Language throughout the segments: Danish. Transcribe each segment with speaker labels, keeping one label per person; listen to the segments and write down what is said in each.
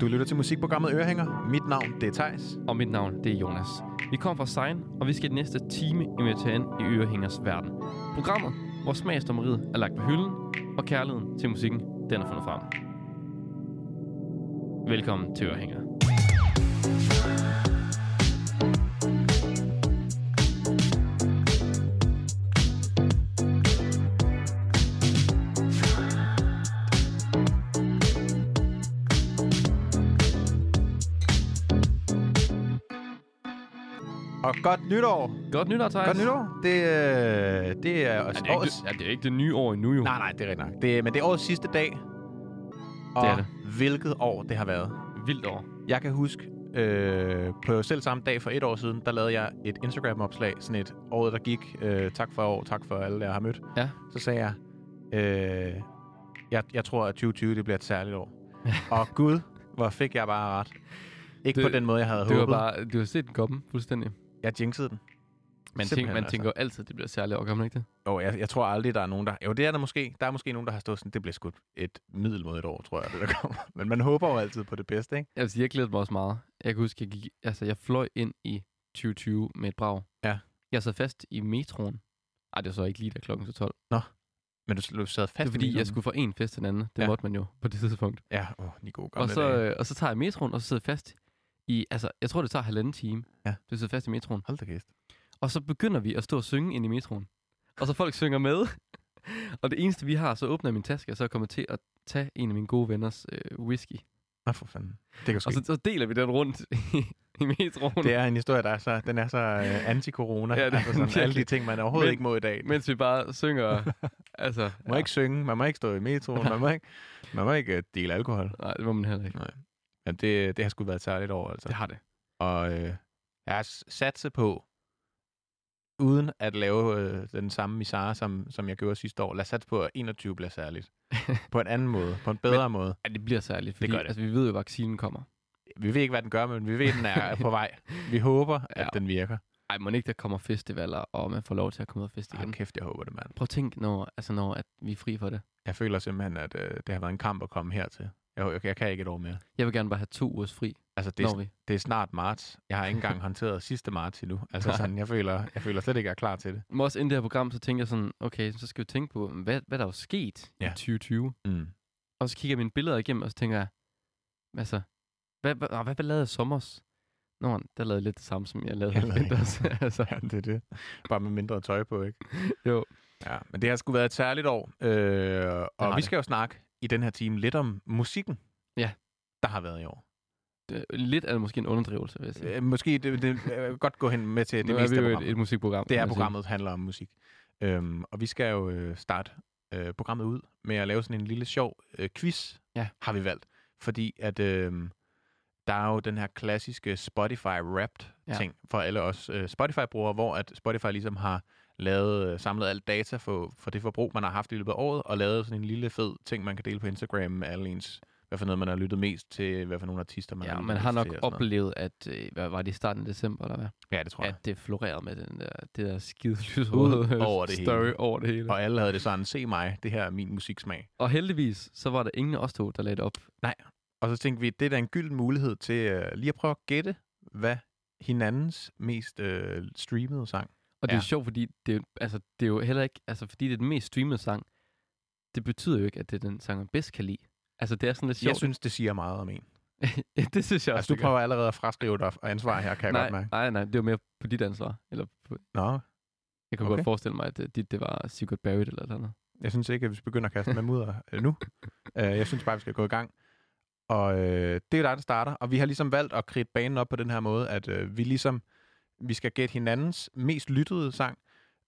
Speaker 1: Du lytter til musikprogrammet Ørehænger. Mit navn, det er Tejs.
Speaker 2: Og mit navn, det er Jonas. Vi kommer fra Sein, og vi skal i den næste time invitere ind i Ørehængers verden. Programmet, hvor smagsdommeriet er lagt på hylden, og kærligheden til musikken, den er fundet frem. Velkommen til Ørehænger.
Speaker 1: Og godt nytår!
Speaker 2: Godt nytår, Thijs.
Speaker 1: Godt nytår! Det, øh, det er,
Speaker 2: Er
Speaker 1: også
Speaker 2: det, ikke,
Speaker 1: årets...
Speaker 2: det, er det ikke det nye år endnu, jo?
Speaker 1: Nej, nej, det er rigtigt nok. Det, er- men det er årets sidste dag. Og
Speaker 2: Det er det.
Speaker 1: hvilket år det har været.
Speaker 2: Vildt år.
Speaker 1: Jeg kan huske, øh, på selv samme dag for et år siden, der lavede jeg et Instagram-opslag, sådan et året, der gik. Øh, tak for i år, tak for alle, jeg har mødt.
Speaker 2: Ja.
Speaker 1: Så sagde jeg, øh, jeg, jeg tror, at 2020 det bliver et særligt år. og gud, hvor fik jeg bare ret. Ikke det,
Speaker 2: Det-
Speaker 1: på den måde, jeg havde
Speaker 2: Det var
Speaker 1: håbet.
Speaker 2: bare, du har set den komme fuldstændig.
Speaker 1: Jeg jinxede den.
Speaker 2: Man, tænker,
Speaker 1: Simpelthen,
Speaker 2: man
Speaker 1: altså.
Speaker 2: tænker jo altid, at det bliver særligt år, gør man ikke det?
Speaker 1: Jo, jeg, jeg tror aldrig, der er nogen, der... Jo, det er der måske. Der er måske nogen, der har stået sådan, det bliver sgu et middelmodigt år, tror jeg, det der kommer. Men man håber jo altid på det bedste, ikke?
Speaker 2: Jeg vil sige, jeg glædede mig også meget. Jeg kan huske, jeg, gik, altså, jeg fløj ind i 2020 med et brag.
Speaker 1: Ja.
Speaker 2: Jeg sad fast i metroen. Ej, det var så ikke lige da klokken så 12.
Speaker 1: Men du, du sad fast
Speaker 2: det er
Speaker 1: i
Speaker 2: fordi,
Speaker 1: mikrofonen.
Speaker 2: jeg skulle fra en fest til den anden. Det
Speaker 1: Ja.
Speaker 2: ja. måtte man jo på det tidspunkt.
Speaker 1: Ja, åh, de gode gamle
Speaker 2: Og så,
Speaker 1: dage.
Speaker 2: øh, og så tager jeg metroen, og så sidder jeg fast i, altså, jeg tror, det tager halvanden time.
Speaker 1: Ja.
Speaker 2: Du sidder fast i metroen.
Speaker 1: Hold da kæft.
Speaker 2: Og så begynder vi at stå og synge ind i metroen. Og så folk synger med. og det eneste, vi har, så åbner jeg min taske, og så kommer jeg til at tage en af mine gode venners øh, whisky.
Speaker 1: Nå, for fanden. Det kan
Speaker 2: Og
Speaker 1: ske.
Speaker 2: så, så deler vi den rundt i, i metroen.
Speaker 1: Det er en historie, der er så, den er så øh, anti-corona.
Speaker 2: Ja,
Speaker 1: Ja,
Speaker 2: det
Speaker 1: det,
Speaker 2: er
Speaker 1: altså
Speaker 2: den
Speaker 1: sådan, alle de
Speaker 2: virkelig.
Speaker 1: ting, man overhovedet
Speaker 2: Men-
Speaker 1: ikke må i dag. Man
Speaker 2: Mens vi bare synger, altså...
Speaker 1: må ikke synge, man må ikke stå i metroen, man må ikke, man må ikke øh, dele alkohol.
Speaker 2: Nej, det må man heller ikke.
Speaker 1: Ja, det, det har sgu været særligt over, altså.
Speaker 2: Det har det.
Speaker 1: Og øh, jeg har s- satset på, uden at lave øh, den samme misare, som, som jeg gjorde sidste år, lad os satse på, at 21 bliver særligt. på en anden måde, på en bedre måde.
Speaker 2: Ja, det bliver særligt, fordi
Speaker 1: gør det.
Speaker 2: Altså, vi ved jo, at vaccinen kommer.
Speaker 1: Vi ved ikke, hvad den gør, men vi ved, at den er på vej. Vi håber, at
Speaker 2: Ja.
Speaker 1: den virker.
Speaker 2: Ej, må ikke, der kommer festivaler, og man får lov til at komme ud og feste igen.
Speaker 1: Hold kæft, jeg håber det, mand.
Speaker 2: Prøv at tænke, når, altså, når at vi er fri for det.
Speaker 1: Jeg føler simpelthen, at øh, det har været en kamp at komme hertil. Jeg, jeg, jeg kan ikke et år mere.
Speaker 2: Jeg vil gerne bare have to ugers fri,
Speaker 1: Altså, det,
Speaker 2: det,
Speaker 1: er-
Speaker 2: når vi.
Speaker 1: det er snart marts. Jeg har ikke engang håndteret sidste marts endnu. Altså, sådan, jeg, føler, jeg føler slet ikke, at jeg er klar til det.
Speaker 2: Men også inden det her program, så tænker jeg sådan, okay, så skal vi tænke på, hvad, hvad der er jo sket ja.
Speaker 1: Ja.
Speaker 2: i 2020.
Speaker 1: Mm.
Speaker 2: Og så kigger jeg mine billeder igennem, og så tænker jeg, altså, hvad, hvad, ah, hvad, hvad lavede jeg i sommers? Nå, der lavede jeg lidt det samme, som jeg lavede
Speaker 1: Jeg
Speaker 2: her i
Speaker 1: lavede ikke
Speaker 2: vinters. altså,
Speaker 1: Ja, det er det. Bare med mindre tøj på, ikke?
Speaker 2: jo.
Speaker 1: Ja, men det har sgu været et særligt år. Øh, og
Speaker 2: har
Speaker 1: vi
Speaker 2: det.
Speaker 1: skal jo snakke i den her time lidt om musikken,
Speaker 2: Ja.
Speaker 1: der har været i år.
Speaker 2: Øh, Lidt er det måske en underdrivelse, vil jeg sige.
Speaker 1: Øh, måske det, det øh, godt gå hen med til det
Speaker 2: nu er
Speaker 1: meste
Speaker 2: vi
Speaker 1: af
Speaker 2: jo et,
Speaker 1: programmet.
Speaker 2: et musikprogram.
Speaker 1: Det
Speaker 2: kan
Speaker 1: er
Speaker 2: man sige.
Speaker 1: programmet, handler om musik. Øhm, og vi skal jo øh, starte øh, programmet ud med at lave sådan en lille sjov øh, quiz,
Speaker 2: Ja.
Speaker 1: har vi valgt. Fordi at øh, der er jo den her klassiske
Speaker 2: Ja.
Speaker 1: Spotify-wrapped-ting ja. for alle os øh, Spotify-brugere, hvor at Spotify ligesom har lavet, øh, samlet alt data for, for det forbrug, man har haft i løbet af året, og lavet sådan en lille fed ting, man kan dele på Instagram med alle ens, hvad for noget man har lyttet mest til, hvad for nogle artister man
Speaker 2: Ja,
Speaker 1: har lyttet
Speaker 2: man har
Speaker 1: mest
Speaker 2: nok
Speaker 1: til og sådan noget.
Speaker 2: oplevet, at, øh, hvad var det i starten af december, eller hvad?
Speaker 1: Ja, det tror jeg.
Speaker 2: At det florerede med den der, det der skide lyserøde
Speaker 1: over det
Speaker 2: story
Speaker 1: hele.
Speaker 2: over det hele.
Speaker 1: Og alle havde det sådan, se mig, det her er min musiksmag.
Speaker 2: Og heldigvis, så var der ingen af os to, der lagde det op.
Speaker 1: Og så tænkte vi, det er da en gylden mulighed til øh, lige at prøve at gætte, hvad hinandens mest øh, streamede sang.
Speaker 2: Og det er
Speaker 1: Ja.
Speaker 2: jo sjovt, fordi det er, jo- altså, det er jo heller ikke, altså fordi det er den mest streamede sang, det betyder jo ikke, at det er den sang, man bedst kan lide. Altså det er sådan lidt
Speaker 1: Jeg
Speaker 2: sjovt.
Speaker 1: synes, det siger meget om en.
Speaker 2: synes, det synes jeg også.
Speaker 1: Altså, du
Speaker 2: det gør.
Speaker 1: prøver allerede at fraskrive dig og ansvar her, kan jeg
Speaker 2: nej,
Speaker 1: godt mærke.
Speaker 2: nej, nej, det var mere på dit ansvar. Eller på,
Speaker 1: Nå,
Speaker 2: jeg kan
Speaker 1: Okay.
Speaker 2: okay. godt forestille mig, at øh, dit, det var Sigurd Barrett eller noget andet.
Speaker 1: jeg synes ikke, at vi begynder at kaste med mudder øh, nu. Uh, jeg synes bare, vi skal gå i gang. Og øh, det er dig, der starter. Og vi har ligesom valgt at kridte banen op på den her måde, at øh, vi ligesom vi skal gætte hinandens mest lyttede sang.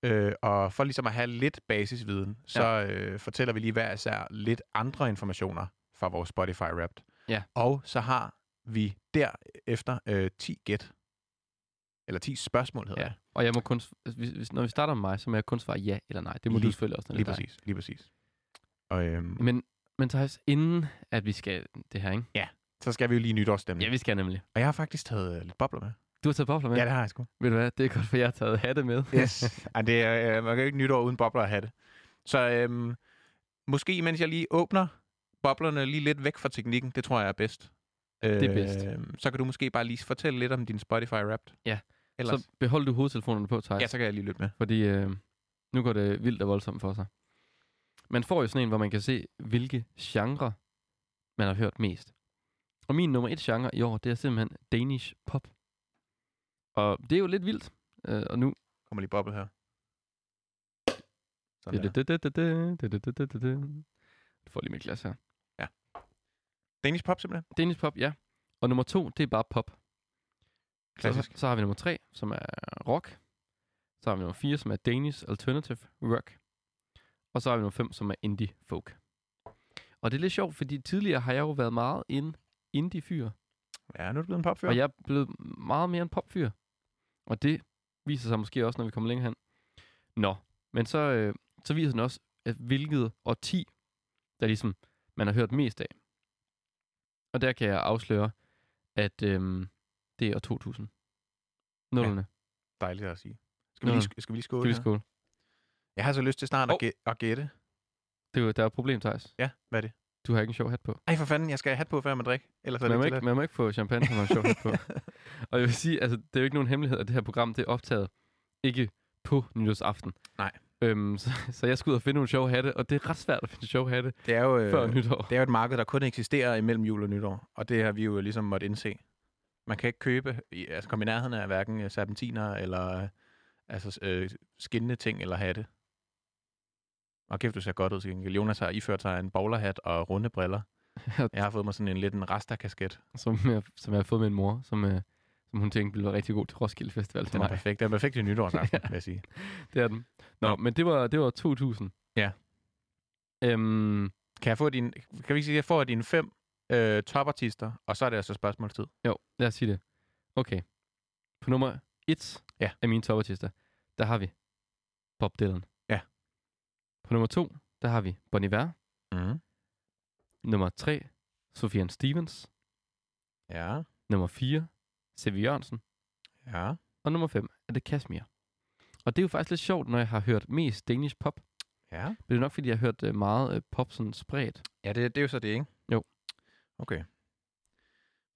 Speaker 1: Øh, og for ligesom at have lidt basisviden, så øh, fortæller vi lige hver især lidt andre informationer fra vores Spotify Wrapped.
Speaker 2: Ja.
Speaker 1: Og så har vi derefter øh, 10 gæt. Eller 10 spørgsmål hedder
Speaker 2: Ja.
Speaker 1: det.
Speaker 2: Og jeg må kun, altså, hvis, hvis, når vi starter med mig, så må jeg kun svare ja eller nej. Det må
Speaker 1: Lige-
Speaker 2: du selvfølgelig også. når
Speaker 1: Lige
Speaker 2: det er dig.
Speaker 1: præcis, lige præcis. Og øhm,
Speaker 2: Men, men Thijs, inden at vi skal det her, ikke?
Speaker 1: så skal vi jo lige nytårsstemning.
Speaker 2: Ja, vi skal nemlig.
Speaker 1: Og jeg har faktisk taget øh, lidt bobler med.
Speaker 2: Du har taget bobler med.
Speaker 1: Ja, det har jeg sgu.
Speaker 2: Ved du hvad, det er godt, for jeg har taget hatte med.
Speaker 1: Yes. Ej, det er, øh, man kan jo ikke nytår uden bobler at have det. Så øhm, måske, mens jeg lige åbner boblerne lige lidt væk fra teknikken, det tror jeg er bedst. Det
Speaker 2: er bedst.
Speaker 1: Så kan du måske bare lige fortælle lidt om din Spotify Wrapped.
Speaker 2: Ja.
Speaker 1: Ellers,
Speaker 2: Så behold du hovedtelefonerne på, Thijs.
Speaker 1: ja, så kan jeg lige lytte med.
Speaker 2: Fordi øh, nu går det vildt og voldsomt for sig. Man får jo sådan en, hvor man kan se, hvilke genre man har hørt mest. Og min nummer et genre i år, det er simpelthen Danish pop. Og det er jo lidt vildt. Øh, og nu...
Speaker 1: Kommer lige bobbet her. Sådan der.
Speaker 2: Du får lige mit glas her.
Speaker 1: Danish pop simpelthen.
Speaker 2: Danish pop, ja. Og nummer to, det er bare pop.
Speaker 1: Klassisk.
Speaker 2: Så, så har vi nummer 3, som er rock. Så har vi nummer 4, som er Danish Alternative Rock. Og så har vi nummer 5, som er Indie Folk. Og det er lidt sjovt, fordi tidligere har jeg jo været meget en indie-fyr.
Speaker 1: Ja, nu er du blevet en popfyr.
Speaker 2: Og jeg er blevet meget mere en popfyr. Og det viser sig måske også, når vi kommer længere hen. Nå, men så, øh, så viser den også, at hvilket årti, der ligesom man har hørt mest af. Og der kan jeg afsløre, at øh, det er år 2000. Nullerne.
Speaker 1: Dejligt at sige. Skal vi
Speaker 2: Nå.
Speaker 1: lige, sk- skal vi lige skåle?
Speaker 2: Skal vi
Speaker 1: her?
Speaker 2: skåle?
Speaker 1: Jeg har så lyst til snart at,
Speaker 2: Hov.
Speaker 1: gæ- at gætte.
Speaker 2: Det er jo, der er et problem, Thijs.
Speaker 1: Ja, hvad er det?
Speaker 2: Du har ikke en sjov hat på.
Speaker 1: Ej, for fanden, jeg skal have hat på, før man drikker. Ellers er
Speaker 2: Man
Speaker 1: det
Speaker 2: må,
Speaker 1: ikke
Speaker 2: ikke, man må ikke få champagne, når man har en sjov hat på. Og jeg vil sige, altså, det er jo ikke nogen hemmelighed, at det her program det er optaget ikke på nytårsaften.
Speaker 1: Nej.
Speaker 2: Øhm, så, så jeg skal ud og finde nogle sjove hatte, og det er ret svært at finde sjove hatte
Speaker 1: Det er jo...
Speaker 2: øh, før
Speaker 1: Øh,
Speaker 2: nytår.
Speaker 1: Det er jo et marked, der kun eksisterer imellem jul og nytår, og det har vi jo ligesom måtte indse. Man kan ikke købe, i- altså komme i nærheden af hverken øh, serpentiner eller øh, altså, øh, skinnende ting eller hatte. Og kæft, du ser godt ud til gengæld. Jonas har iført sig en bowlerhat og runde briller.
Speaker 2: Ja.
Speaker 1: Jeg har fået mig sådan en lidt en rasta-kasket.
Speaker 2: Som jeg, som jeg har fået med en mor, som, øh, som hun tænkte ville være rigtig god til Roskilde Festival for
Speaker 1: Den er
Speaker 2: mig.
Speaker 1: perfekt. Den er perfekt i nytårsaften, vil jeg sige.
Speaker 2: Det er den. Nå,
Speaker 1: Nå.
Speaker 2: men det var, det var 2000.
Speaker 1: Ja.
Speaker 2: Øhm,
Speaker 1: Kan, jeg få din, kan vi ikke sige, at jeg får dine fem øh, topartister, og så er det altså spørgsmålstid.
Speaker 2: Jo, lad os sige det. Okay. På nummer 1
Speaker 1: Ja.
Speaker 2: af mine topartister, der har vi Bob Dylan.
Speaker 1: Ja.
Speaker 2: På nummer 2, der har vi Bon Iver.
Speaker 1: Mm.
Speaker 2: Nummer 3, Sofian Stevens.
Speaker 1: Ja,
Speaker 2: Nummer 4, Sevi Jørgensen.
Speaker 1: ja.
Speaker 2: Og nummer 5 er det Kashmir. Og det er jo faktisk lidt sjovt, når jeg har hørt mest Danish pop.
Speaker 1: Ja,
Speaker 2: Men det er nok, fordi jeg har hørt øh, meget øh, pop sådan spredt.
Speaker 1: ja det, det er jo så det, ikke?
Speaker 2: Jo.
Speaker 1: Okay. Så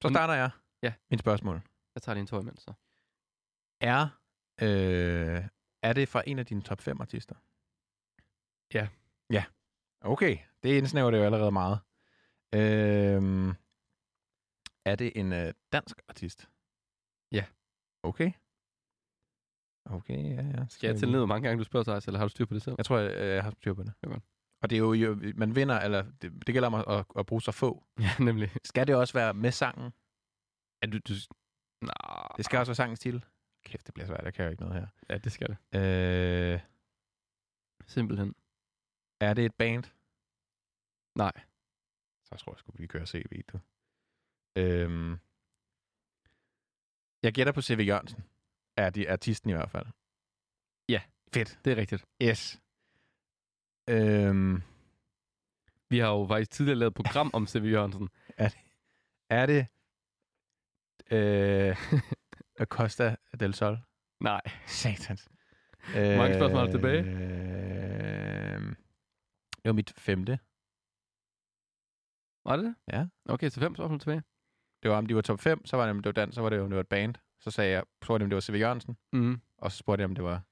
Speaker 2: Så-
Speaker 1: starter jeg.
Speaker 2: Ja.
Speaker 1: Min spørgsmål.
Speaker 2: Jeg tager lige en tår imens, så.
Speaker 1: Er, øh, er det fra en af dine top 5 artister?
Speaker 2: Ja.
Speaker 1: Ja. Okay, det indsnæver det jo allerede meget. Øh, er det en øh, dansk artist?
Speaker 2: Ja.
Speaker 1: Okay. Okay, ja, ja.
Speaker 2: Skal jeg tælle ned, hvor mange gange du spørger sig, eller har du styr på det selv?
Speaker 1: Jeg tror, jeg, øh, jeg har styr på det.
Speaker 2: Det er godt.
Speaker 1: Og det er jo, jo man vinder, eller det, det gælder om at, at, at bruge så få.
Speaker 2: Ja, nemlig.
Speaker 1: Skal det også være med sangen?
Speaker 2: Er du, du... Nå,
Speaker 1: Det skal også være sangens titel. Kæft, det bliver svært. Jeg kan jo ikke noget her.
Speaker 2: ja, det skal det.
Speaker 1: Øh,
Speaker 2: Simpelthen.
Speaker 1: er det et band?
Speaker 2: Nej.
Speaker 1: Så tror jeg sgu, vi kører CV, du. Øhm, jeg gætter på C.V. Jørgensen. Er de artisten i hvert fald.
Speaker 2: Ja.
Speaker 1: Fedt.
Speaker 2: Det er rigtigt.
Speaker 1: Yes. Øhm,
Speaker 2: Vi har jo faktisk tidligere lavet et program om C.V. Jørgensen.
Speaker 1: er det... Øh, Costa del Sol?
Speaker 2: Nej.
Speaker 1: Satans.
Speaker 2: mange spørgsmål er der tilbage?
Speaker 1: Øh, det var mit femte.
Speaker 2: Var det det?
Speaker 1: Ja.
Speaker 2: Okay, så fem spørgsmål tilbage.
Speaker 1: Det var, om de var top 5, så var det, om det var dans, så var det, om det var et band. Så sagde jeg, spurgte jeg, om det var C.V. Jørgensen,
Speaker 2: Mm.
Speaker 1: og så spurgte jeg, om det var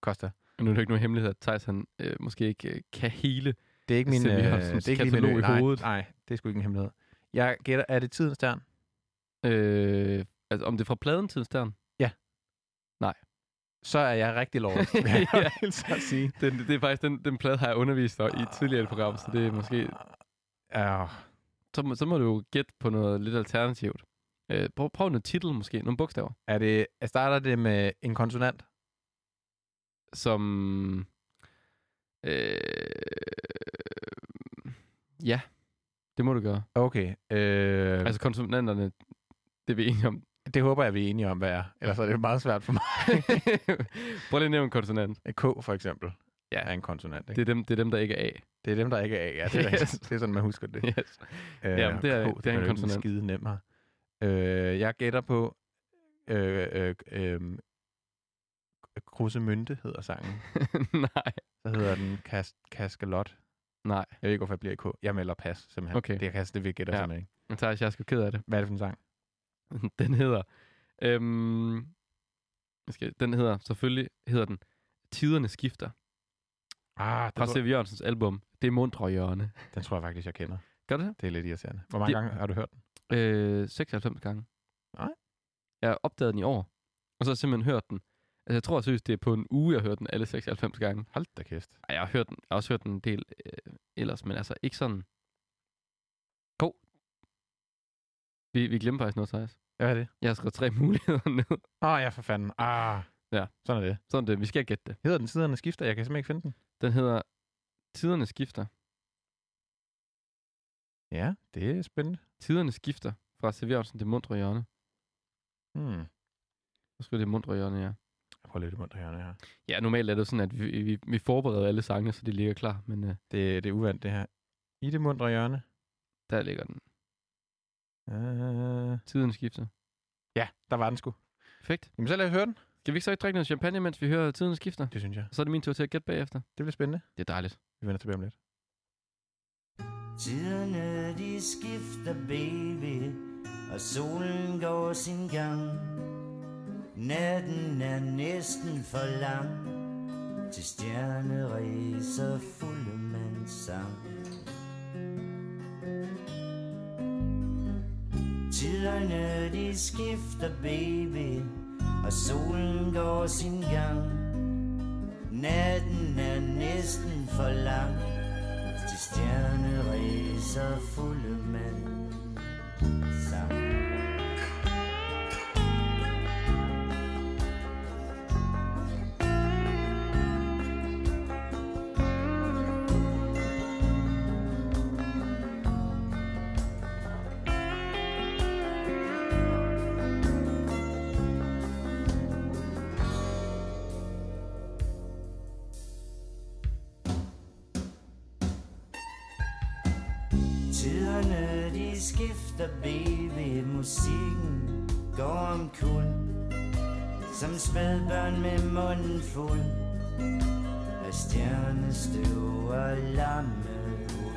Speaker 1: Costa.
Speaker 2: Og nu er det jo ikke nogen hemmelighed, at Thijs han øh, måske ikke øh, kan hele.
Speaker 1: Det er ikke min...
Speaker 2: C.V.
Speaker 1: øh,
Speaker 2: Jørgensens
Speaker 1: det er ikke lige min
Speaker 2: katalog
Speaker 1: ø.
Speaker 2: i
Speaker 1: nej,
Speaker 2: hovedet.
Speaker 1: Nej, det er sgu ikke en hemmelighed. Jeg gætter, er det tidens stjern?
Speaker 2: Øh, altså, om det er fra pladen til Stern.
Speaker 1: Så er jeg rigtig lov. vil jeg
Speaker 2: Ja.
Speaker 1: vil så sige.
Speaker 2: Den, det er faktisk den, den plade, har jeg undervist dig i et tidligere program, så det er måske...
Speaker 1: Ja,
Speaker 2: Så, må- så må du jo gætte på noget lidt alternativt. Øh, prøv, prøv noget titel måske, nogle bogstaver,
Speaker 1: er det, starter det med en konsonant?
Speaker 2: som... Øh, ja, det må du gøre.
Speaker 1: Okay. Øh,
Speaker 2: Altså konsonanterne, det er vi enige om.
Speaker 1: det håber jeg, vi er enige om, hvad er. Ellers er det meget svært for mig.
Speaker 2: Prøv lige at nævne en konsonant.
Speaker 1: K for eksempel
Speaker 2: Ja.
Speaker 1: er en konsonant. Ikke?
Speaker 2: Det er dem, det er dem der ikke er A.
Speaker 1: Det, er dem, der ikke er A. Ja, det, er,
Speaker 2: Yes.
Speaker 1: det er sådan, man husker det.
Speaker 2: Yes.
Speaker 1: Øh,
Speaker 2: Jamen, det er-
Speaker 1: K,
Speaker 2: det er en
Speaker 1: jo ikke
Speaker 2: konsonant.
Speaker 1: skide nem her. Øh, jeg gætter på... Øh, øh, øh, Kruse Mynte hedder sangen.
Speaker 2: Nej.
Speaker 1: Så hedder den kas, Kaskalot.
Speaker 2: Nej.
Speaker 1: Jeg ved ikke, hvorfor jeg bliver i K. Jeg melder pas, simpelthen.
Speaker 2: Okay.
Speaker 1: Det, jeg kan, det vil jeg gætter
Speaker 2: Ja.
Speaker 1: ja. simpelthen ikke.
Speaker 2: Men Thijs, jeg er sgu ked af det.
Speaker 1: Hvad er det for en sang?
Speaker 2: den hedder... Øhm, jeg skal, den hedder, selvfølgelig hedder den, Tiderne skifter.
Speaker 1: Ah,
Speaker 2: Fra
Speaker 1: den, tror,
Speaker 2: C.V. Jørgensens album, Det Mundre Hjørne.
Speaker 1: den tror jeg faktisk, jeg kender.
Speaker 2: Gør det
Speaker 1: Det er lidt irriterende. Hvor mange
Speaker 2: Det-
Speaker 1: gange har du hørt den?
Speaker 2: det? Øh, 96 gange.
Speaker 1: Nej.
Speaker 2: Jeg opdagede den i år, og så har jeg simpelthen hørt den. Altså, jeg tror seriøst, det er på en uge, jeg har hørt den alle 96 gange.
Speaker 1: Hold da kæft.
Speaker 2: Ej, jeg har hørt den, jeg har også hørt den en del øh, ellers, men altså ikke sådan... Hov. Vi, vi glemmer faktisk noget, Thijs.
Speaker 1: Hvad er det?
Speaker 2: Jeg har skrevet tre muligheder ned.
Speaker 1: Åh, oh, ja, for fanden. Ah,
Speaker 2: Ja.
Speaker 1: Sådan er det.
Speaker 2: Sådan det, vi skal gætte det.
Speaker 1: Hedder den Siderne Skifter? Jeg kan simpelthen ikke finde den.
Speaker 2: Den hedder Tiderne skifter.
Speaker 1: Ja, det er spændende.
Speaker 2: Tiderne skifter fra C.V. Jørgensen til Mundre Hjørne.
Speaker 1: Hmm.
Speaker 2: Så skriver det Mundre Hjørne, ja.
Speaker 1: Jeg prøver lidt i mundt her.
Speaker 2: Ja, normalt er det jo sådan, at vi, vi, vi forbereder alle sangene, så de ligger klar, men øh,
Speaker 1: Det, det er uvandt, det her. I det mundre hjørne.
Speaker 2: der ligger den.
Speaker 1: Uh,
Speaker 2: Tiden skifter.
Speaker 1: ja, der var den sgu.
Speaker 2: Perfekt.
Speaker 1: Jamen, så lad os høre den.
Speaker 2: Skal vi ikke så ikke drikke noget champagne, mens vi hører Tiden skifter?
Speaker 1: Det synes jeg.
Speaker 2: Så er det min tur til at gætte bagefter.
Speaker 1: Det bliver spændende.
Speaker 2: Det er dejligt.
Speaker 1: Vi vender tilbage om lidt.
Speaker 3: Tiderne de skifter baby Og solen går sin gang Natten er næsten for lang Til stjerneræser fulde man sang Tiderne de skifter baby Og solen går sin gang Natten er næsten for lang til stjerneræser fulde mand sammen. Tiderne de skifter baby Musikken går om kul Som spædbørn med munden fuld Af stjernestøv og lammehul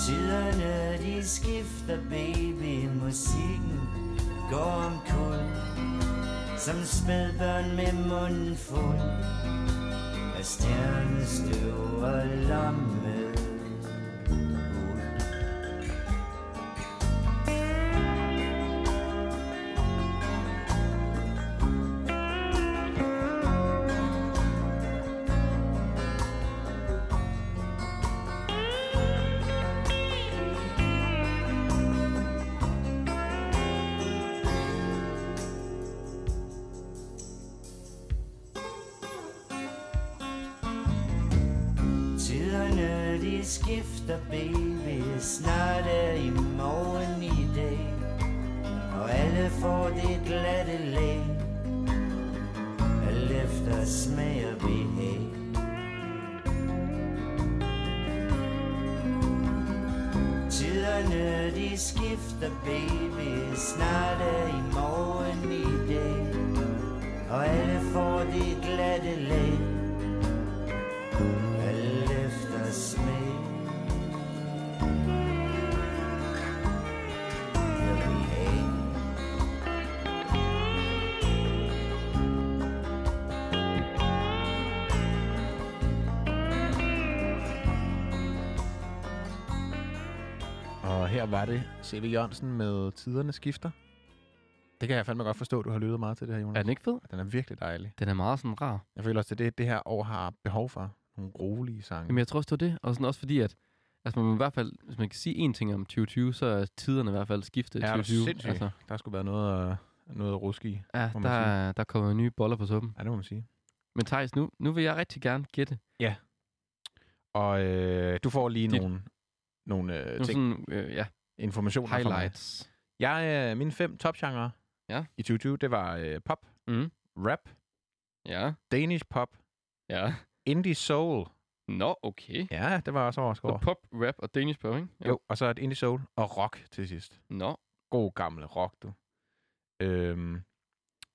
Speaker 3: Tiderne de skifter baby Musikken går om kul Som spædbørn med munden fuld af stjernestøv og lamme. Tiderne de skifter baby, snart er i morgen i dag. Og alle får det glatte lag, alt efter smag og behag. Tiderne de skifter baby, snart er i morgen i dag. Og alle får det glatte lag, alt efter smag. Jeg vil have.
Speaker 1: Og her var det C.V. Jørgensen med Tiderne Skifter. Det kan jeg fandme godt forstå, du har lyttet meget til det her, Jonas.
Speaker 2: Er den ikke fed?
Speaker 1: Den er virkelig dejlig.
Speaker 2: Den er meget sådan rar.
Speaker 1: Jeg føler også, det er det, det her år har behov for. Nogle rolige sange.
Speaker 2: Jamen, jeg tror også, det var det. Og sådan også fordi, at altså, man i hvert fald, hvis man kan sige én ting om 2020, så er tiderne i hvert fald skiftet i
Speaker 1: er du
Speaker 2: 2020.
Speaker 1: sindssyg? Altså. Der skulle være noget, øh, noget at ruske i.
Speaker 2: ja,
Speaker 1: må man
Speaker 2: der, er, der kommer nye boller på suppen.
Speaker 1: Ja, det må man sige.
Speaker 2: Men Thijs, nu, nu vil jeg rigtig gerne gætte
Speaker 1: Og øh, du får lige
Speaker 2: Dit-
Speaker 1: nogle, nogle øh,
Speaker 2: nogle
Speaker 1: ting,
Speaker 2: sådan, øh, ja,
Speaker 1: informationer fra mig.
Speaker 2: highlights.
Speaker 1: Jeg, øh, mine fem topgenre
Speaker 2: Ja.
Speaker 1: i 2020, det var øh, pop,
Speaker 2: Mm.
Speaker 1: rap,
Speaker 2: Ja,
Speaker 1: Danish pop,
Speaker 2: ja.
Speaker 1: indie soul.
Speaker 2: Nå, okay.
Speaker 1: Ja, det var jeg også overrasket
Speaker 2: Så
Speaker 1: over.
Speaker 2: pop, rap og Danish pop, ikke? Ja.
Speaker 1: Jo, og så et indie soul og rock til sidst.
Speaker 2: Nå,
Speaker 1: God gammel rock, du. Øhm,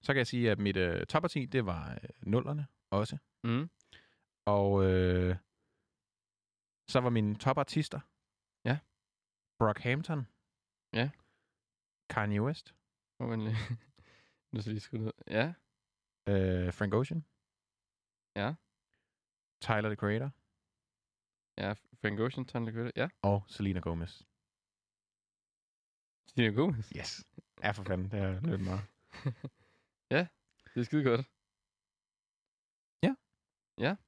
Speaker 1: så kan jeg sige, at mit øh, topparti, det var øh, nullerne også.
Speaker 2: mm.
Speaker 1: Og øh, Så var mine topartister.
Speaker 2: Ja.
Speaker 1: Brockhampton.
Speaker 2: Ja.
Speaker 1: Kanye West.
Speaker 2: Hvor man lige... nu skal jeg lige skrue ned. Ja,
Speaker 1: Øh, Frank Ocean.
Speaker 2: Ja.
Speaker 1: Tyler, the Creator.
Speaker 2: ja. Frank Ocean, Tony Liquitter. Ja.
Speaker 1: Og Selena Gomez.
Speaker 2: Stina Gomez.
Speaker 1: Yes. Ja, for fanden. Det er lidt meget.
Speaker 2: Det er skide godt.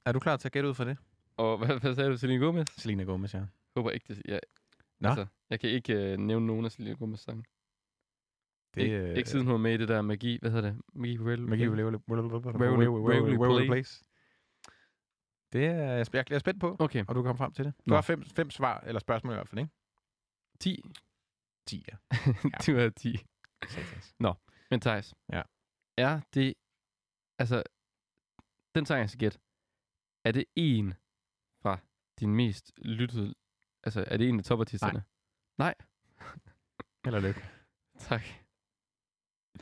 Speaker 1: Er du klar til at gætte ud for det?
Speaker 2: Og hvad, hvad sagde du, Selena Gomez?
Speaker 1: Selena Gomez, ja.
Speaker 2: Håber ikke, det... Jeg,
Speaker 1: Nå.
Speaker 2: jeg kan ikke øh, nævne nogen af Selena Gomez sange.
Speaker 1: Det,
Speaker 2: ikke, øh, ikke siden hun var med i det der magi... Hvad hedder det? Magi Rail...
Speaker 1: Magi
Speaker 2: Rail-
Speaker 1: Waverly Place. Det er jeg, jeg er spændt på,
Speaker 2: Okay.
Speaker 1: og du kommer frem til det. Du
Speaker 2: Nå.
Speaker 1: har fem, fem svar, eller spørgsmål i hvert fald, ikke?
Speaker 2: 10.
Speaker 1: 10, ja.
Speaker 2: du er 10.
Speaker 1: Satans.
Speaker 2: Men Thijs.
Speaker 1: Ja.
Speaker 2: Er det... Altså, den sang, jeg skal gætte. Er det en fra din mest lyttede... Altså, er det en af topartisterne?
Speaker 1: Eller lykke.
Speaker 2: Tak.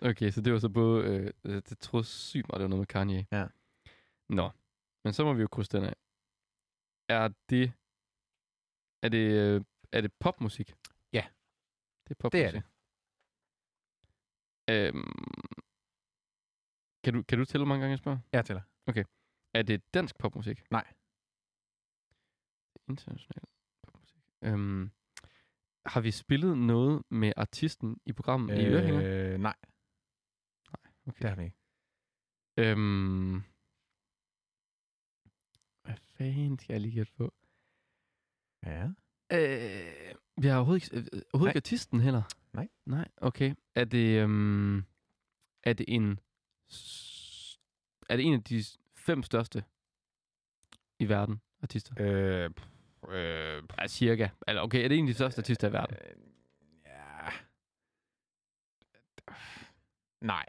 Speaker 2: Okay, så det var så både... Øh, øh, det troede sygt meget, det var noget med Kanye.
Speaker 1: Ja.
Speaker 2: Nå, men så må vi jo krydse den af. Er det... Er det, øh, er det popmusik? Det
Speaker 1: Ja.
Speaker 2: er
Speaker 1: Det er
Speaker 2: popmusik. det. Øhm, kan, du, kan du tælle, hvor mange gange jeg spørger?
Speaker 1: Jeg tæller.
Speaker 2: Er det dansk popmusik?
Speaker 1: Nej.
Speaker 2: International popmusik. Øhm, har vi spillet noget med artisten i programmet øh, i Ørehænger?
Speaker 1: Øh, nej.
Speaker 2: Nej, okay.
Speaker 1: Det har vi ikke.
Speaker 2: Øhm... Hvad fanden skal jeg lige gætte på?
Speaker 1: Ja.
Speaker 2: Øh, vi har overhovedet ikke, øh, overhovedet ikke artisten heller.
Speaker 1: Nej.
Speaker 2: Nej, okay. Er det, øhm, er det en... s- Er det en af de s- fem største i verden, artister?
Speaker 1: Øh, pff, øh, pff,
Speaker 2: Ja, cirka. Eller okay, er det en af de største artister i verden?
Speaker 1: øh, ja. Øh, Nej.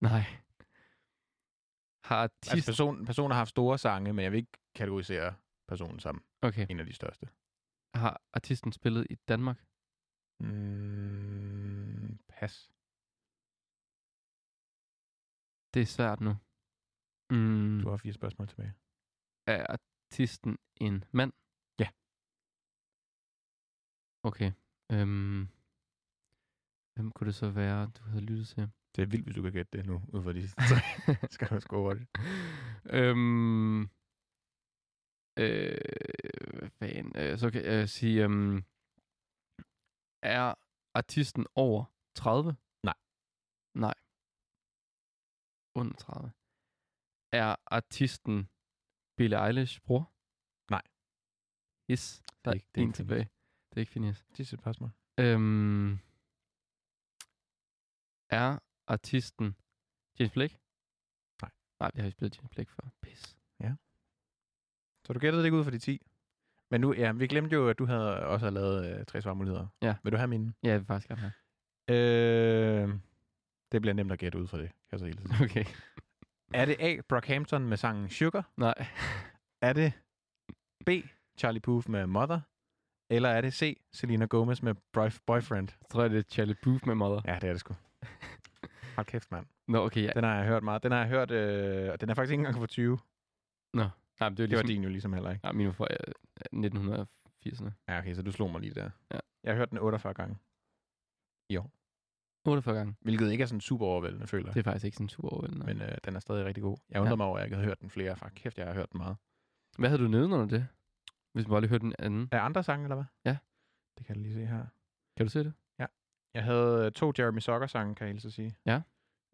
Speaker 2: Nej. Har
Speaker 1: Altså,
Speaker 2: artist...
Speaker 1: person, personen har haft store sange, men jeg vil ikke kategorisere personen som
Speaker 2: Okay.
Speaker 1: en af de største.
Speaker 2: Har artisten spillet i Danmark?
Speaker 1: Mm, pas.
Speaker 2: Det er svært nu. Mm.
Speaker 1: Du har fire spørgsmål tilbage.
Speaker 2: er artisten en mand?
Speaker 1: Ja.
Speaker 2: Okay. Øhm, hvem kunne det så være, du havde lyttet til?
Speaker 1: Det er vildt, hvis du kan gætte det nu, ud fra de tre. skal du score det.
Speaker 2: øhm, øh, hvad fanden, øh, så kan jeg sige, øhm, er artisten over 30?
Speaker 1: Nej.
Speaker 2: Nej. Under 30. Er artisten Billie Eilish bror?
Speaker 1: Nej.
Speaker 2: Yes, der er,
Speaker 1: ikke-
Speaker 2: ikke,
Speaker 1: det er
Speaker 2: en
Speaker 1: ikke Phineas.
Speaker 2: tilbage. Det er ikke Phineas.
Speaker 1: Sidste spørgsmål.
Speaker 2: Øhm, er artisten James Blake?
Speaker 1: Nej.
Speaker 2: Nej, vi har ikke spillet James Blake før. Pis.
Speaker 1: Så du gættede det ikke ud fra de 10. Men nu, ja, vi glemte jo, at du havde også havde lavet øh, tre svarmuligheder.
Speaker 2: Ja.
Speaker 1: Vil du have mine?
Speaker 2: Ja, jeg vil faktisk gerne have.
Speaker 1: Øh, det bliver nemt at gætte ud fra det, kan jeg så hele tiden.
Speaker 2: Okay.
Speaker 1: er det A. Brockhampton med sangen Sugar?
Speaker 2: Nej.
Speaker 1: Er det B. Charlie Puth med Mother? Eller er det C. Selena Gomez med Boy- Boyfriend?
Speaker 2: Jeg tror, det er Charlie Booth med Mother.
Speaker 1: Ja, det er det sgu. Hold kæft, mand.
Speaker 2: Nå, okay, ja.
Speaker 1: Den har jeg hørt meget. Den har jeg hørt, øh, og den er faktisk ikke engang på 20.
Speaker 2: Nej, men det er
Speaker 1: Det var
Speaker 2: ligesom...
Speaker 1: din jo ligesom heller ikke.
Speaker 2: Nej, min var fra øh, 1980'erne.
Speaker 1: Ja, okay, så du slog mig lige der.
Speaker 2: Ja.
Speaker 1: Jeg har hørt den 48 gange,
Speaker 2: 48 gange.
Speaker 1: hvilket ikke er sådan super overvældende, føler jeg.
Speaker 2: Det er faktisk ikke sådan super overvældende. Men...
Speaker 1: Men øh, den er stadig rigtig god. Jeg undrer ja.
Speaker 2: Ja.
Speaker 1: mig over, at jeg ikke havde hørt den flere. Fuck, kæft, jeg har hørt den meget.
Speaker 2: Hvad havde du nedenunder det? Hvis man bare lige hørte den anden.
Speaker 1: Er andre sange, eller hvad?
Speaker 2: Ja.
Speaker 1: Det kan jeg lige se her.
Speaker 2: Kan du se det?
Speaker 1: Jeg havde øh, to Jeremy Socker-sange, kan jeg hilse at sige.
Speaker 2: Ja.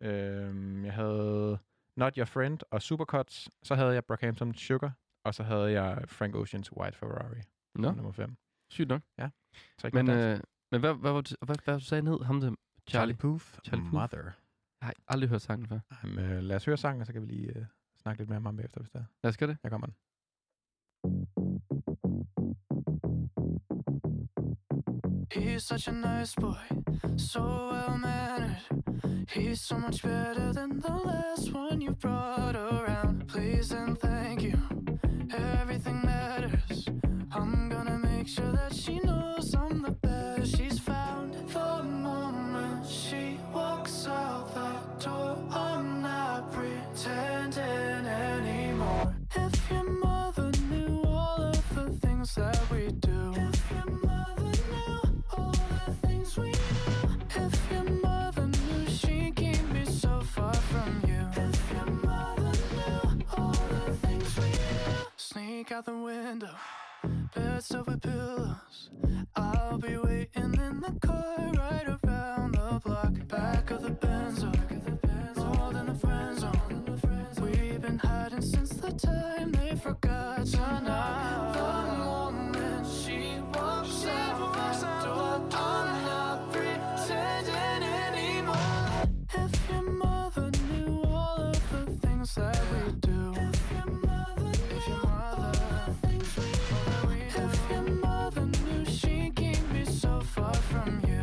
Speaker 1: Øhm, jeg havde Not Your Friend og Supercuts. Så havde jeg Brockhampton Sugar. Og så havde jeg Frank Ocean's White Ferrari,
Speaker 2: Nå,
Speaker 1: som nummer 5.
Speaker 2: sygt nok.
Speaker 1: Så ikke
Speaker 2: Men,
Speaker 1: noget dansk.
Speaker 2: øh, men hvad, hvad, var det, hvad, hvad du sagde ned? Ham der Charlie.
Speaker 1: Puth,
Speaker 2: Charlie Puth.
Speaker 1: Mother.
Speaker 2: Jeg har aldrig hørt sangen før.
Speaker 1: Jamen, øh, lad os høre sangen, og så kan vi lige øh, snakke lidt mere om ham bagefter, hvis der er.
Speaker 2: Lad os gøre det.
Speaker 1: Her kommer den.
Speaker 4: He's such a nice boy, so well mannered. He's so much better than the last one you brought around. Please and thank you, everything matters. I'm gonna make sure that she knows I'm the best she's found. The moment she walks out that door, I'm not pretending anymore. If your mother knew all of the things we do. If your mother knew all the things we knew. If your mother knew she can't be so far from you. If your mother knew all the things we knew. Sneak out the window. Beds over pillows. I'll be waiting in the car right around the block. Back of the Benz, rolled in the friend zone. We've been hiding since the time they forgot your name. The moment she walks out the door, I'm not pretending anymore. If your mother knew all of the things that we do. If your mother if your mother knew she can't be so far from you.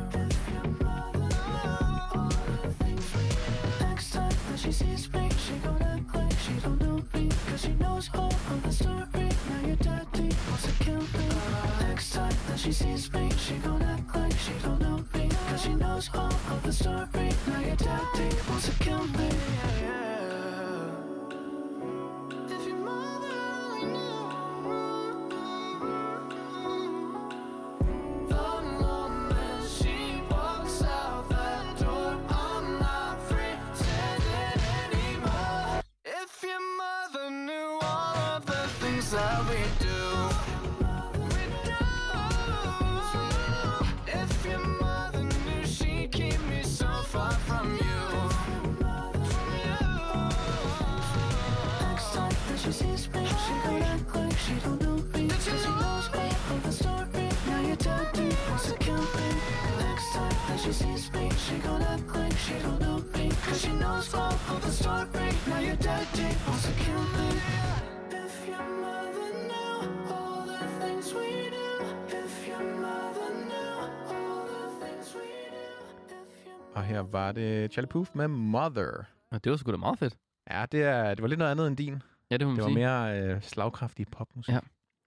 Speaker 4: Next time that she sees me, she gon' act like she don't know me. Cause she knows all of the story. Now your daddy wants to kill me. Next time that she sees me, she gon' act like she don't know me. Cause she knows all of the story. Now your daddy wants to kill me. If your mother only knew The moment she walks out that door I'm not pretending anymore If your mother knew all of the things that we do If your mother knew she keep me so far from you Next time that she sees me, she gon' act like she don't know me. Cause she knows all of the story. Now your daddy wants to kill me. Next time that she sees me, she gon' act like she don't know me. Cause she knows all of the story. Now your daddy wants to kill me. If your mother knew all the things we do. If your mother knew all the things we do. If your
Speaker 1: Og her var det Charlie Puth med Mother.
Speaker 2: Og det var sgu da meget fedt.
Speaker 1: Ja, det, er, det var lidt noget andet end din.
Speaker 2: Ja, det må man
Speaker 1: Det var
Speaker 2: sige.
Speaker 1: mere øh, slagkraftig popmusik.
Speaker 2: Ja.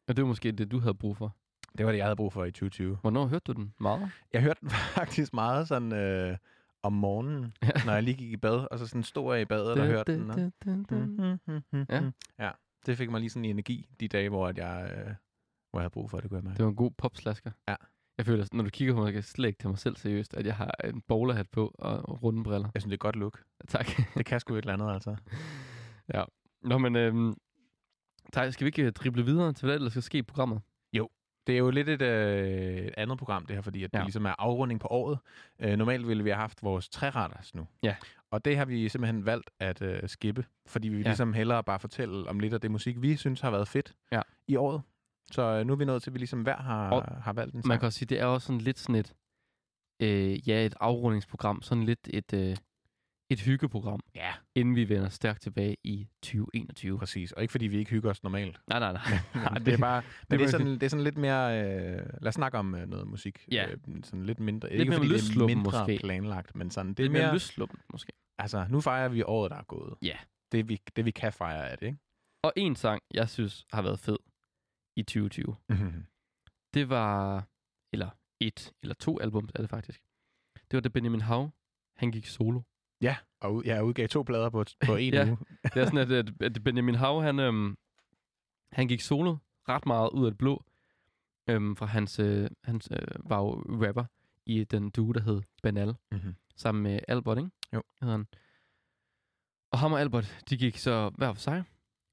Speaker 2: Og det var måske det, du havde brug for.
Speaker 1: Det var det, jeg havde brug for i 2020.
Speaker 2: Hvornår hørte du den? Meget?
Speaker 1: Jeg hørte den faktisk meget sådan øh, om morgenen,
Speaker 2: Ja.
Speaker 1: når jeg lige gik i bad, og så sådan stod jeg i badet og hørte den. Og... Mm, mm, mm,
Speaker 2: Ja.
Speaker 1: mm. ja, det fik mig lige sådan en energi de dage, hvor, at jeg, øh, hvor jeg havde brug for det, kunne jeg mærke.
Speaker 2: Det var en god popslasker.
Speaker 1: Ja.
Speaker 2: Jeg føler, når du kigger på mig, kan jeg slet ikke tage mig selv seriøst, at jeg har en bowlerhat på og runde briller.
Speaker 1: Jeg synes, det er et godt look.
Speaker 2: Tak.
Speaker 1: Det kan sgu et eller andet, altså.
Speaker 2: Nå, men øhm, Thaj, skal vi ikke øh, drible videre til, hvad der skal ske i programmet?
Speaker 1: Det er jo lidt et øh, et andet program, det her, fordi at det
Speaker 2: Ja.
Speaker 1: ligesom er afrunding på året. Øh, normalt ville vi have haft vores træretters nu.
Speaker 2: Ja.
Speaker 1: Og det har vi simpelthen valgt at øh, skippe, fordi vi vil
Speaker 2: Ja.
Speaker 1: ligesom hellere bare fortælle om lidt af det musik, vi synes har været fedt
Speaker 2: Ja.
Speaker 1: i året. Så øh, nu er vi nået til, at vi ligesom hver har,
Speaker 2: Og
Speaker 1: har valgt en
Speaker 2: Man
Speaker 1: sang.
Speaker 2: kan også sige, det er også sådan lidt sådan et, øh, ja, et afrundingsprogram, sådan lidt et, øh, et hyggeprogram,
Speaker 1: Ja,
Speaker 2: inden vi vender stærkt tilbage i 2021.
Speaker 1: præcis. Og ikke fordi vi ikke hygger os normalt.
Speaker 2: Nej, nej, nej.
Speaker 1: Men det er bare, men det,
Speaker 2: må
Speaker 1: er
Speaker 2: jeg
Speaker 1: sådan, det er sådan lidt mere... Øh, lad os snakke om øh, noget musik.
Speaker 2: Ja.
Speaker 1: Øh, sådan lidt mindre.
Speaker 2: Lidt
Speaker 1: ikke
Speaker 2: mere
Speaker 1: fordi det er
Speaker 2: løssluppen
Speaker 1: mindre
Speaker 2: måske.
Speaker 1: planlagt, men sådan...
Speaker 2: Det er mere løsluppen, måske.
Speaker 1: Altså, nu fejrer vi året, der er gået.
Speaker 2: Ja.
Speaker 1: Det vi, det vi kan fejre af det, ikke?
Speaker 2: Og en sang, jeg synes har været fed i 2020,
Speaker 1: Mhm.
Speaker 2: det var, eller et, eller to album er det faktisk. Det var da Benjamin Hav, han gik solo.
Speaker 1: ja, og ud- jeg udgav to plader på, på en
Speaker 2: Ja.
Speaker 1: uge.
Speaker 2: Det er sådan, at, at- at Benjamin Hav, han, øhm, han gik solo ret meget ud af det blå, øhm, fra hans, øh, hans øh, var jo rapper i den duo, der hed Banal,
Speaker 1: Mhm.
Speaker 2: sammen med Albert, ikke?
Speaker 1: Jo.
Speaker 2: Hedder han. Og ham og Albert, de gik så hver for sig,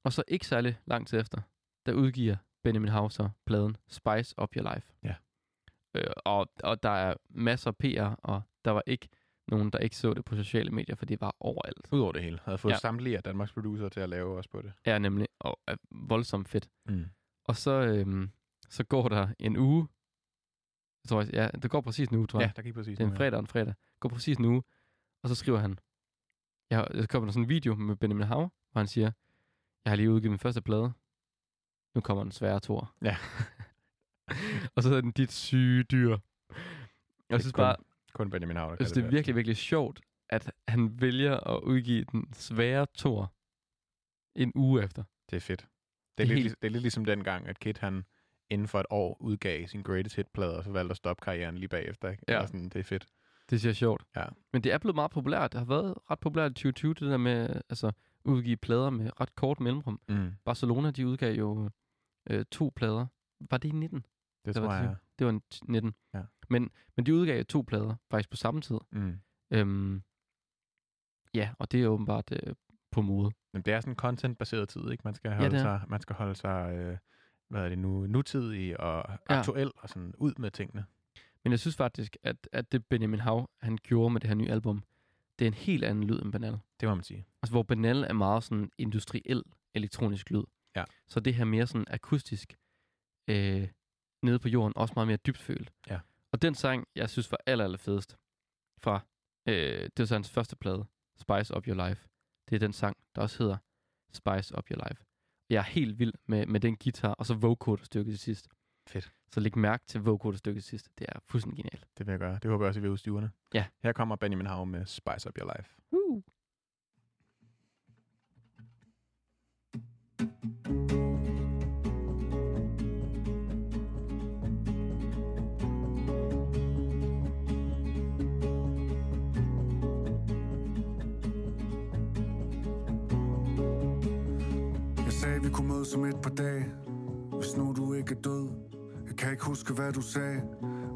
Speaker 2: og så ikke særlig lang tid efter, der udgiver Benjamin Hav så pladen Spice Up Your Life.
Speaker 1: Ja.
Speaker 2: Øh, og, og der er masser af PR, og der var ikke nogen, der ikke så det på sociale medier, for det var overalt.
Speaker 1: Udover det hele. Havde fået ja.
Speaker 2: Ja.
Speaker 1: samtlige af Danmarks producer til at lave også på det.
Speaker 2: er nemlig og er voldsomt fedt.
Speaker 1: Mm.
Speaker 2: Og så, øhm, så går der en uge. Jeg tror, faktisk- ja, det går præcis en uge, tror jeg.
Speaker 1: Ja, der gik præcis
Speaker 2: det er
Speaker 1: nu,
Speaker 2: en
Speaker 1: ja.
Speaker 2: fredag og en fredag. Går præcis en uge. Og så skriver han. Jeg, har- der kommer der sådan en video med Benjamin Hav, hvor han siger, jeg har lige udgivet min første plade. Nu kommer den svære tor.
Speaker 1: Ja.
Speaker 2: og så hedder den dit syge dyr. Jeg synes
Speaker 1: kun-
Speaker 2: bare,
Speaker 1: Kun Benjamin Havler.
Speaker 2: jeg synes, det er virkelig, virkelig sjovt, at han vælger at udgive den svære tor en uge efter.
Speaker 1: Det er fedt. Det
Speaker 2: Det
Speaker 1: er,
Speaker 2: er
Speaker 1: lidt,
Speaker 2: helt-
Speaker 1: lig- det er lidt ligesom dengang, at Kid han inden for et år udgav sin greatest hit-plade, og så valgte at stoppe karrieren lige bagefter. Ikke?
Speaker 2: Ja.
Speaker 1: Eller Sådan, det er fedt.
Speaker 2: Det synes jeg er sjovt.
Speaker 1: Ja.
Speaker 2: Men det er blevet meget populært. Det har været ret populært i 2020, det der med altså, udgive plader med ret kort mellemrum.
Speaker 1: Mm.
Speaker 2: Barcelona, de udgav jo øh, to plader. Var det i 19?
Speaker 1: Det
Speaker 2: Eller
Speaker 1: tror
Speaker 2: hvad
Speaker 1: jeg.
Speaker 2: Det var en t- 19.
Speaker 1: Ja.
Speaker 2: Men, men de udgav to plader, faktisk på samme tid.
Speaker 1: Mm.
Speaker 2: Øhm, ja, og det er åbenbart øh, på mode.
Speaker 1: Jamen, det er sådan en content-baseret tid, ikke? Man skal holde,
Speaker 2: det er.
Speaker 1: sig, man skal holde sig øh, hvad er det nu, nutidig og
Speaker 2: Ja.
Speaker 1: aktuel og sådan ud med tingene.
Speaker 2: Men jeg synes faktisk, at, at det Benjamin Hav, han gjorde med det her nye album, det er en helt anden lyd end Banal.
Speaker 1: Det må man sige.
Speaker 2: Altså, hvor Banal er meget sådan industriel elektronisk lyd.
Speaker 1: Ja.
Speaker 2: Så det her mere sådan akustisk, øh, nede på jorden, også meget mere dybtfølt.
Speaker 1: Ja.
Speaker 2: Og den sang, jeg synes var aller, aller fedest, fra, øh, det var så hans første plade, Spice Up Your Life. Det er den sang, der også hedder Spice Up Your Life. Jeg er helt vild med, med den guitar, og så vocoder-stykket til sidst.
Speaker 1: Fedt.
Speaker 2: Så læg mærke til vocoder-stykket til sidst. Det er fuldstændig genialt.
Speaker 1: Det vil jeg gøre. Det håber jeg også, at vi er ude i stuerne.
Speaker 2: Ja.
Speaker 1: Her kommer Benjamin Hav med Spice Up Your Life.
Speaker 2: Uh.
Speaker 5: Jeg sagde, vi kunne mødes om et par dage Hvis nu du ikke er død Jeg kan ikke huske, hvad du sagde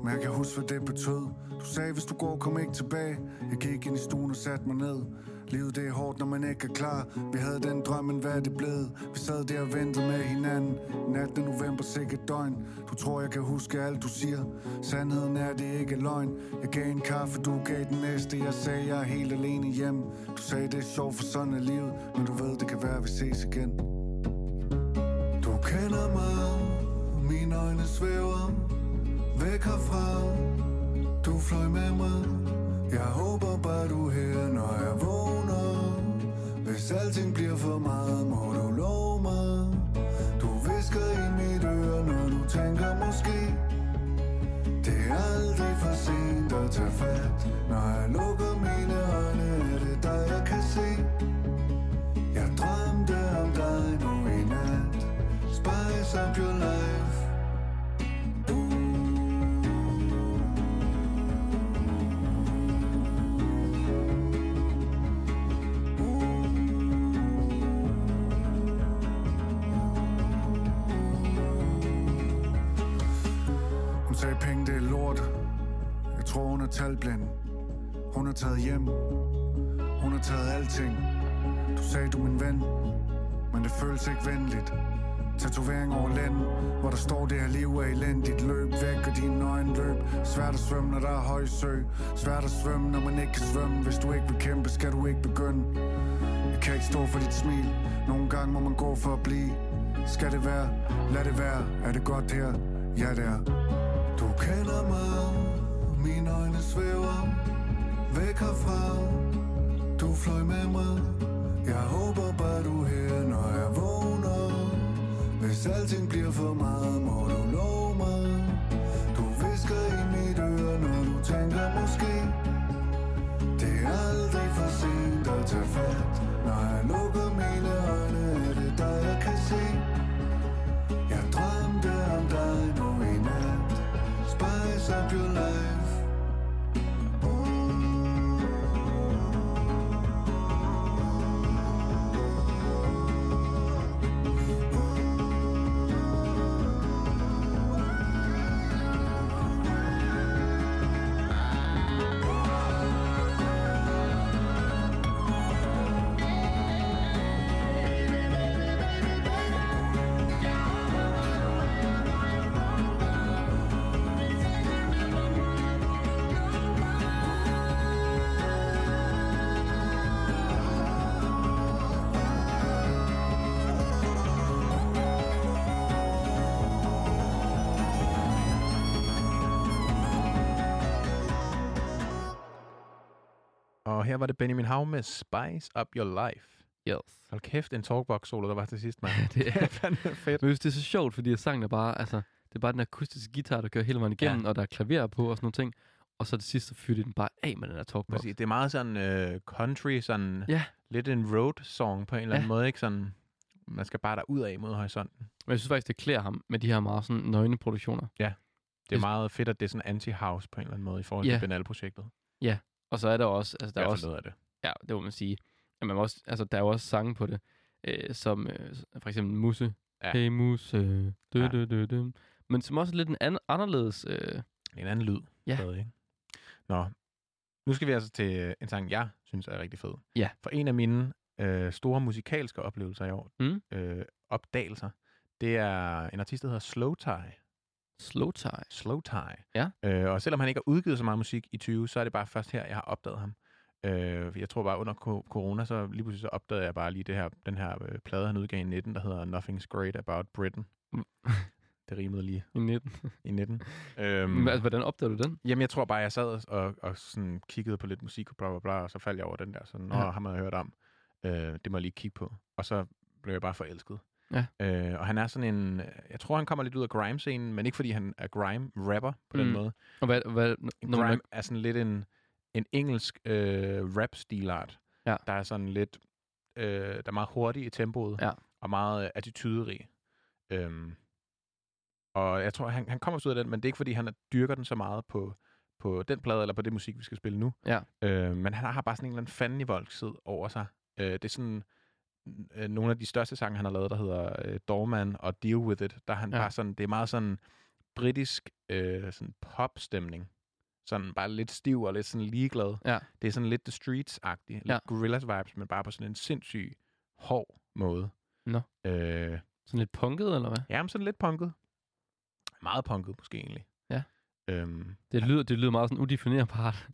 Speaker 5: Men jeg kan huske, hvad det betød Du sagde, hvis du går, kom ikke tilbage Jeg gik ind i stuen og satte mig ned Livet det er hårdt, når man ikke er klar Vi havde den drøm, men hvad er det blevet? Vi sad der og ventede med hinanden 18. november, sikkert døgn Du tror, jeg kan huske alt, du siger Sandheden er, det ikke er løgn Jeg gav en kaffe, du gav den næste Jeg sagde, jeg er helt alene hjem Du sagde, det er sjovt, for sådan er livet Men du ved, det kan være, vi ses igen du kender mig, mine øjne svæver væk herfra. Du fløj med mig, jeg håber bare du er her, når jeg vågner. Hvis alting bliver for meget, må du love mig. Du visker i mit øre, når du tænker måske. Det er aldrig for sent at tage fat. Når jeg lukker mine øjne, er det dig, jeg kan se. Jeg drømte om dig nu i nat. Spice up your life. Hun sagde penge, det er lort. Jeg tror, hun er talblind. Hun er taget hjem. Hun har taget alting. Du sagde, du er min ven. Men det føles ikke venligt. Tatovering over land, hvor der står det her liv er elendigt Løb væk og dine øjne løb Svært at svømme, når der er høj sø Svært at svømme, når man ikke kan svømme Hvis du ikke vil kæmpe, skal du ikke begynde Jeg kan ikke stå for dit smil Nogle gange må man gå for at blive Skal det være? Lad det være Er det godt her? Ja, det er Du kender mig Mine øjne svæver Væk herfra du fløj med mig Jeg håber bare du er her, når jeg vågner Hvis alting bliver for meget, må du love mig Du visker i mit øre, når du tænker måske Det er aldrig for sent at tage fat Når jeg lukker mine øjne, er det dig jeg kan se Jeg drømte om dig nu i nat Spice up your life
Speaker 1: Og her var det Benjamin Hav med Spice Up Your Life.
Speaker 2: Yes.
Speaker 1: Hold kæft, en talkbox-solo, der var til sidst, mand.
Speaker 2: det er
Speaker 1: fandme fedt.
Speaker 2: Men hvis det er så sjovt, fordi jeg sang der bare, altså, det er bare den akustiske guitar, der kører hele vejen igennem, ja. og der er klaver på og sådan nogle ting. Og så til sidst, så fyrer de den bare af med den her talkbox.
Speaker 1: Præcis. Det er meget sådan øh, country, sådan
Speaker 2: Ja.
Speaker 1: lidt en road song på en eller anden
Speaker 2: Ja.
Speaker 1: måde, ikke? Sådan, man skal bare derud af mod horisonten.
Speaker 2: Men jeg synes faktisk, det klæder ham med de her meget sådan nøgne produktioner.
Speaker 1: Det er
Speaker 2: Det-
Speaker 1: meget fedt, at det er sådan anti-house på en eller anden måde i forhold
Speaker 2: Ja.
Speaker 1: til Benal-projektet.
Speaker 2: Og så er der også, altså der er
Speaker 1: I hvert fald
Speaker 2: også,
Speaker 1: noget af det.
Speaker 2: ja, det må man sige, at man må også, altså der er jo også sange på det, øh, som øh, for eksempel Musse.
Speaker 1: Ja.
Speaker 2: Hey Musse, dø,
Speaker 1: Ja.
Speaker 2: dø, dø, dø. men som også er lidt en an- anderledes... Øh,
Speaker 1: Det er en anden lyd.
Speaker 2: Ja.
Speaker 1: Stadig, ikke? Nå, nu skal vi altså til øh, en sang, jeg synes er rigtig fed.
Speaker 2: Ja.
Speaker 1: For en af mine øh, store musikalske oplevelser i år,
Speaker 2: Mm.
Speaker 1: øh, opdagelser, det er en artist, der hedder Slow Tie.
Speaker 2: slow tie.
Speaker 1: Slow Tie.
Speaker 2: Ja.
Speaker 1: Øh, og selvom han ikke har udgivet så meget musik i 20, så er det bare først her, jeg har opdaget ham. Øh, jeg tror bare, under co- corona, så lige pludselig så opdagede jeg bare lige det her, den her øh, plade, han udgav i 19, der hedder Nothing's Great About Britain.
Speaker 2: Mm.
Speaker 1: det rimede lige
Speaker 2: I 19.
Speaker 1: i 19.
Speaker 2: Mm.
Speaker 1: øhm,
Speaker 2: Altså, hvordan opdagede du den?
Speaker 1: Jamen, jeg tror bare, jeg sad og, og sådan kiggede på lidt musik og bla bla bla, og så faldt jeg over den der, sådan, nå,
Speaker 2: Ja.
Speaker 1: ja. ham havde jeg hørt om. Øh, det må jeg lige kigge på. Og så blev jeg bare forelsket.
Speaker 2: Ja.
Speaker 1: Øh, og han er sådan en, jeg tror, han kommer lidt ud af grime-scenen, men ikke fordi han er grime-rapper på den
Speaker 2: Mm.
Speaker 1: måde.
Speaker 2: Og hvad, hvad,
Speaker 1: En
Speaker 2: når
Speaker 1: grime
Speaker 2: man,
Speaker 1: er sådan lidt en, en engelsk øh, rap-stilart,
Speaker 2: Ja.
Speaker 1: der er sådan lidt, øh, der er meget hurtig i tempoet,
Speaker 2: Ja.
Speaker 1: og meget øh, attituderig. Øhm, og jeg tror, han, han kommer så ud af den, men det er ikke, fordi han er- dyrker den så meget på, på den plade, eller på det musik, vi skal spille nu.
Speaker 2: Ja.
Speaker 1: Øh, men han har bare sådan en eller anden fanden i voldsid over sig. Øh, det er sådan øh, nogle af de største sange, han har lavet, der hedder øh, Doorman og Deal With It, der er han
Speaker 2: Ja.
Speaker 1: ja. bare sådan, det er meget sådan britisk øh, sådan popstemning. Sådan bare lidt stiv og lidt sådan ligeglad.
Speaker 2: Ja.
Speaker 1: Det er sådan lidt The Streets-agtigt. Lidt
Speaker 2: Ja.
Speaker 1: Gorillaz vibes, men bare på sådan en sindssyg hård måde.
Speaker 2: Nå.
Speaker 1: Øh,
Speaker 2: sådan lidt punket, eller hvad?
Speaker 1: ja, men sådan lidt punket. Meget punket måske egentlig.
Speaker 2: Ja.
Speaker 1: Øhm,
Speaker 2: Det lyder, det lyder meget sådan udefinerbart.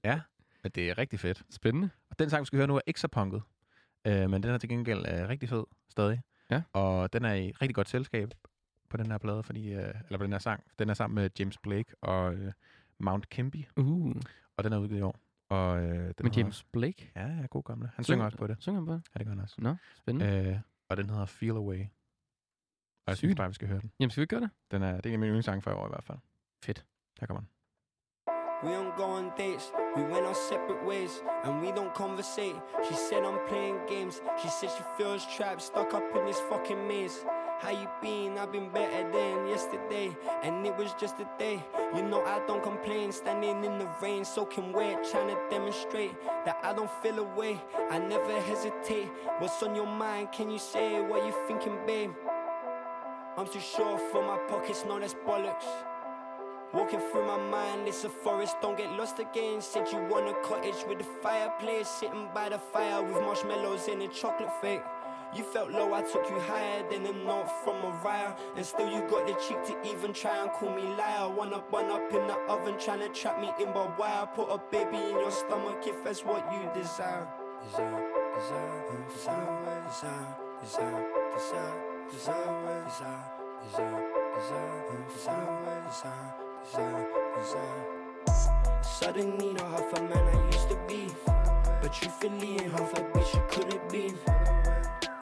Speaker 1: men det er rigtig fedt.
Speaker 2: Spændende.
Speaker 1: Og den sang, vi skal høre nu, er ikke så punket. Øh, men den er til gengæld øh, rigtig fed stadig.
Speaker 2: Ja.
Speaker 1: Og den er i rigtig godt selskab på den her plade, fordi, øh, eller på den her sang. Den er sammen med James Blake og øh, Mount Kimby,
Speaker 2: Uh,
Speaker 1: og den er udgivet i år. Og, øh, den
Speaker 2: med
Speaker 1: hedder-
Speaker 2: James Blake.
Speaker 1: Ja, ja, god gamle. Han synger også på det.
Speaker 2: Synger han på det?
Speaker 1: Ja, det gør han også.
Speaker 2: Nå, spændende. Øh,
Speaker 1: Øh, og den hedder Feel Away. Og jeg
Speaker 2: Sygt.
Speaker 1: synes bare, vi skal høre den.
Speaker 2: Jamen, skal vi ikke gøre det?
Speaker 1: den er, det er en af mine yndlingssange for i år i hvert fald.
Speaker 2: Fedt.
Speaker 1: Her kommer den.
Speaker 6: We don't go on dates, we went our separate ways, and we don't conversate. She said I'm playing games, she said she feels trapped, stuck up in this fucking maze. How you been? I've been better than yesterday, and it was just a day. You know I don't complain, standing in the rain, soaking wet, trying to demonstrate that I don't feel away. I never hesitate. What's on your mind? Can you say what you thinking, babe? I'm too short for my pockets, no that's bollocks. Walking through my mind, it's a forest, don't get lost again. Said you want a cottage with a fireplace, sitting by the fire with marshmallows and a chocolate fake. You felt low, I took you higher than a note from Mariah. And still you got the cheek to even try and call me liar. One up, one up in the oven, trying to trap me in by wire. Put a baby in your stomach if that's what you desire. Desire, desire, desire, desire, desire, desire, desire, desire, desire, desire, desire, desire, desire, desire. Suddenly not half a man I used to be, but you truthfully ain't half a bitch you couldn't be.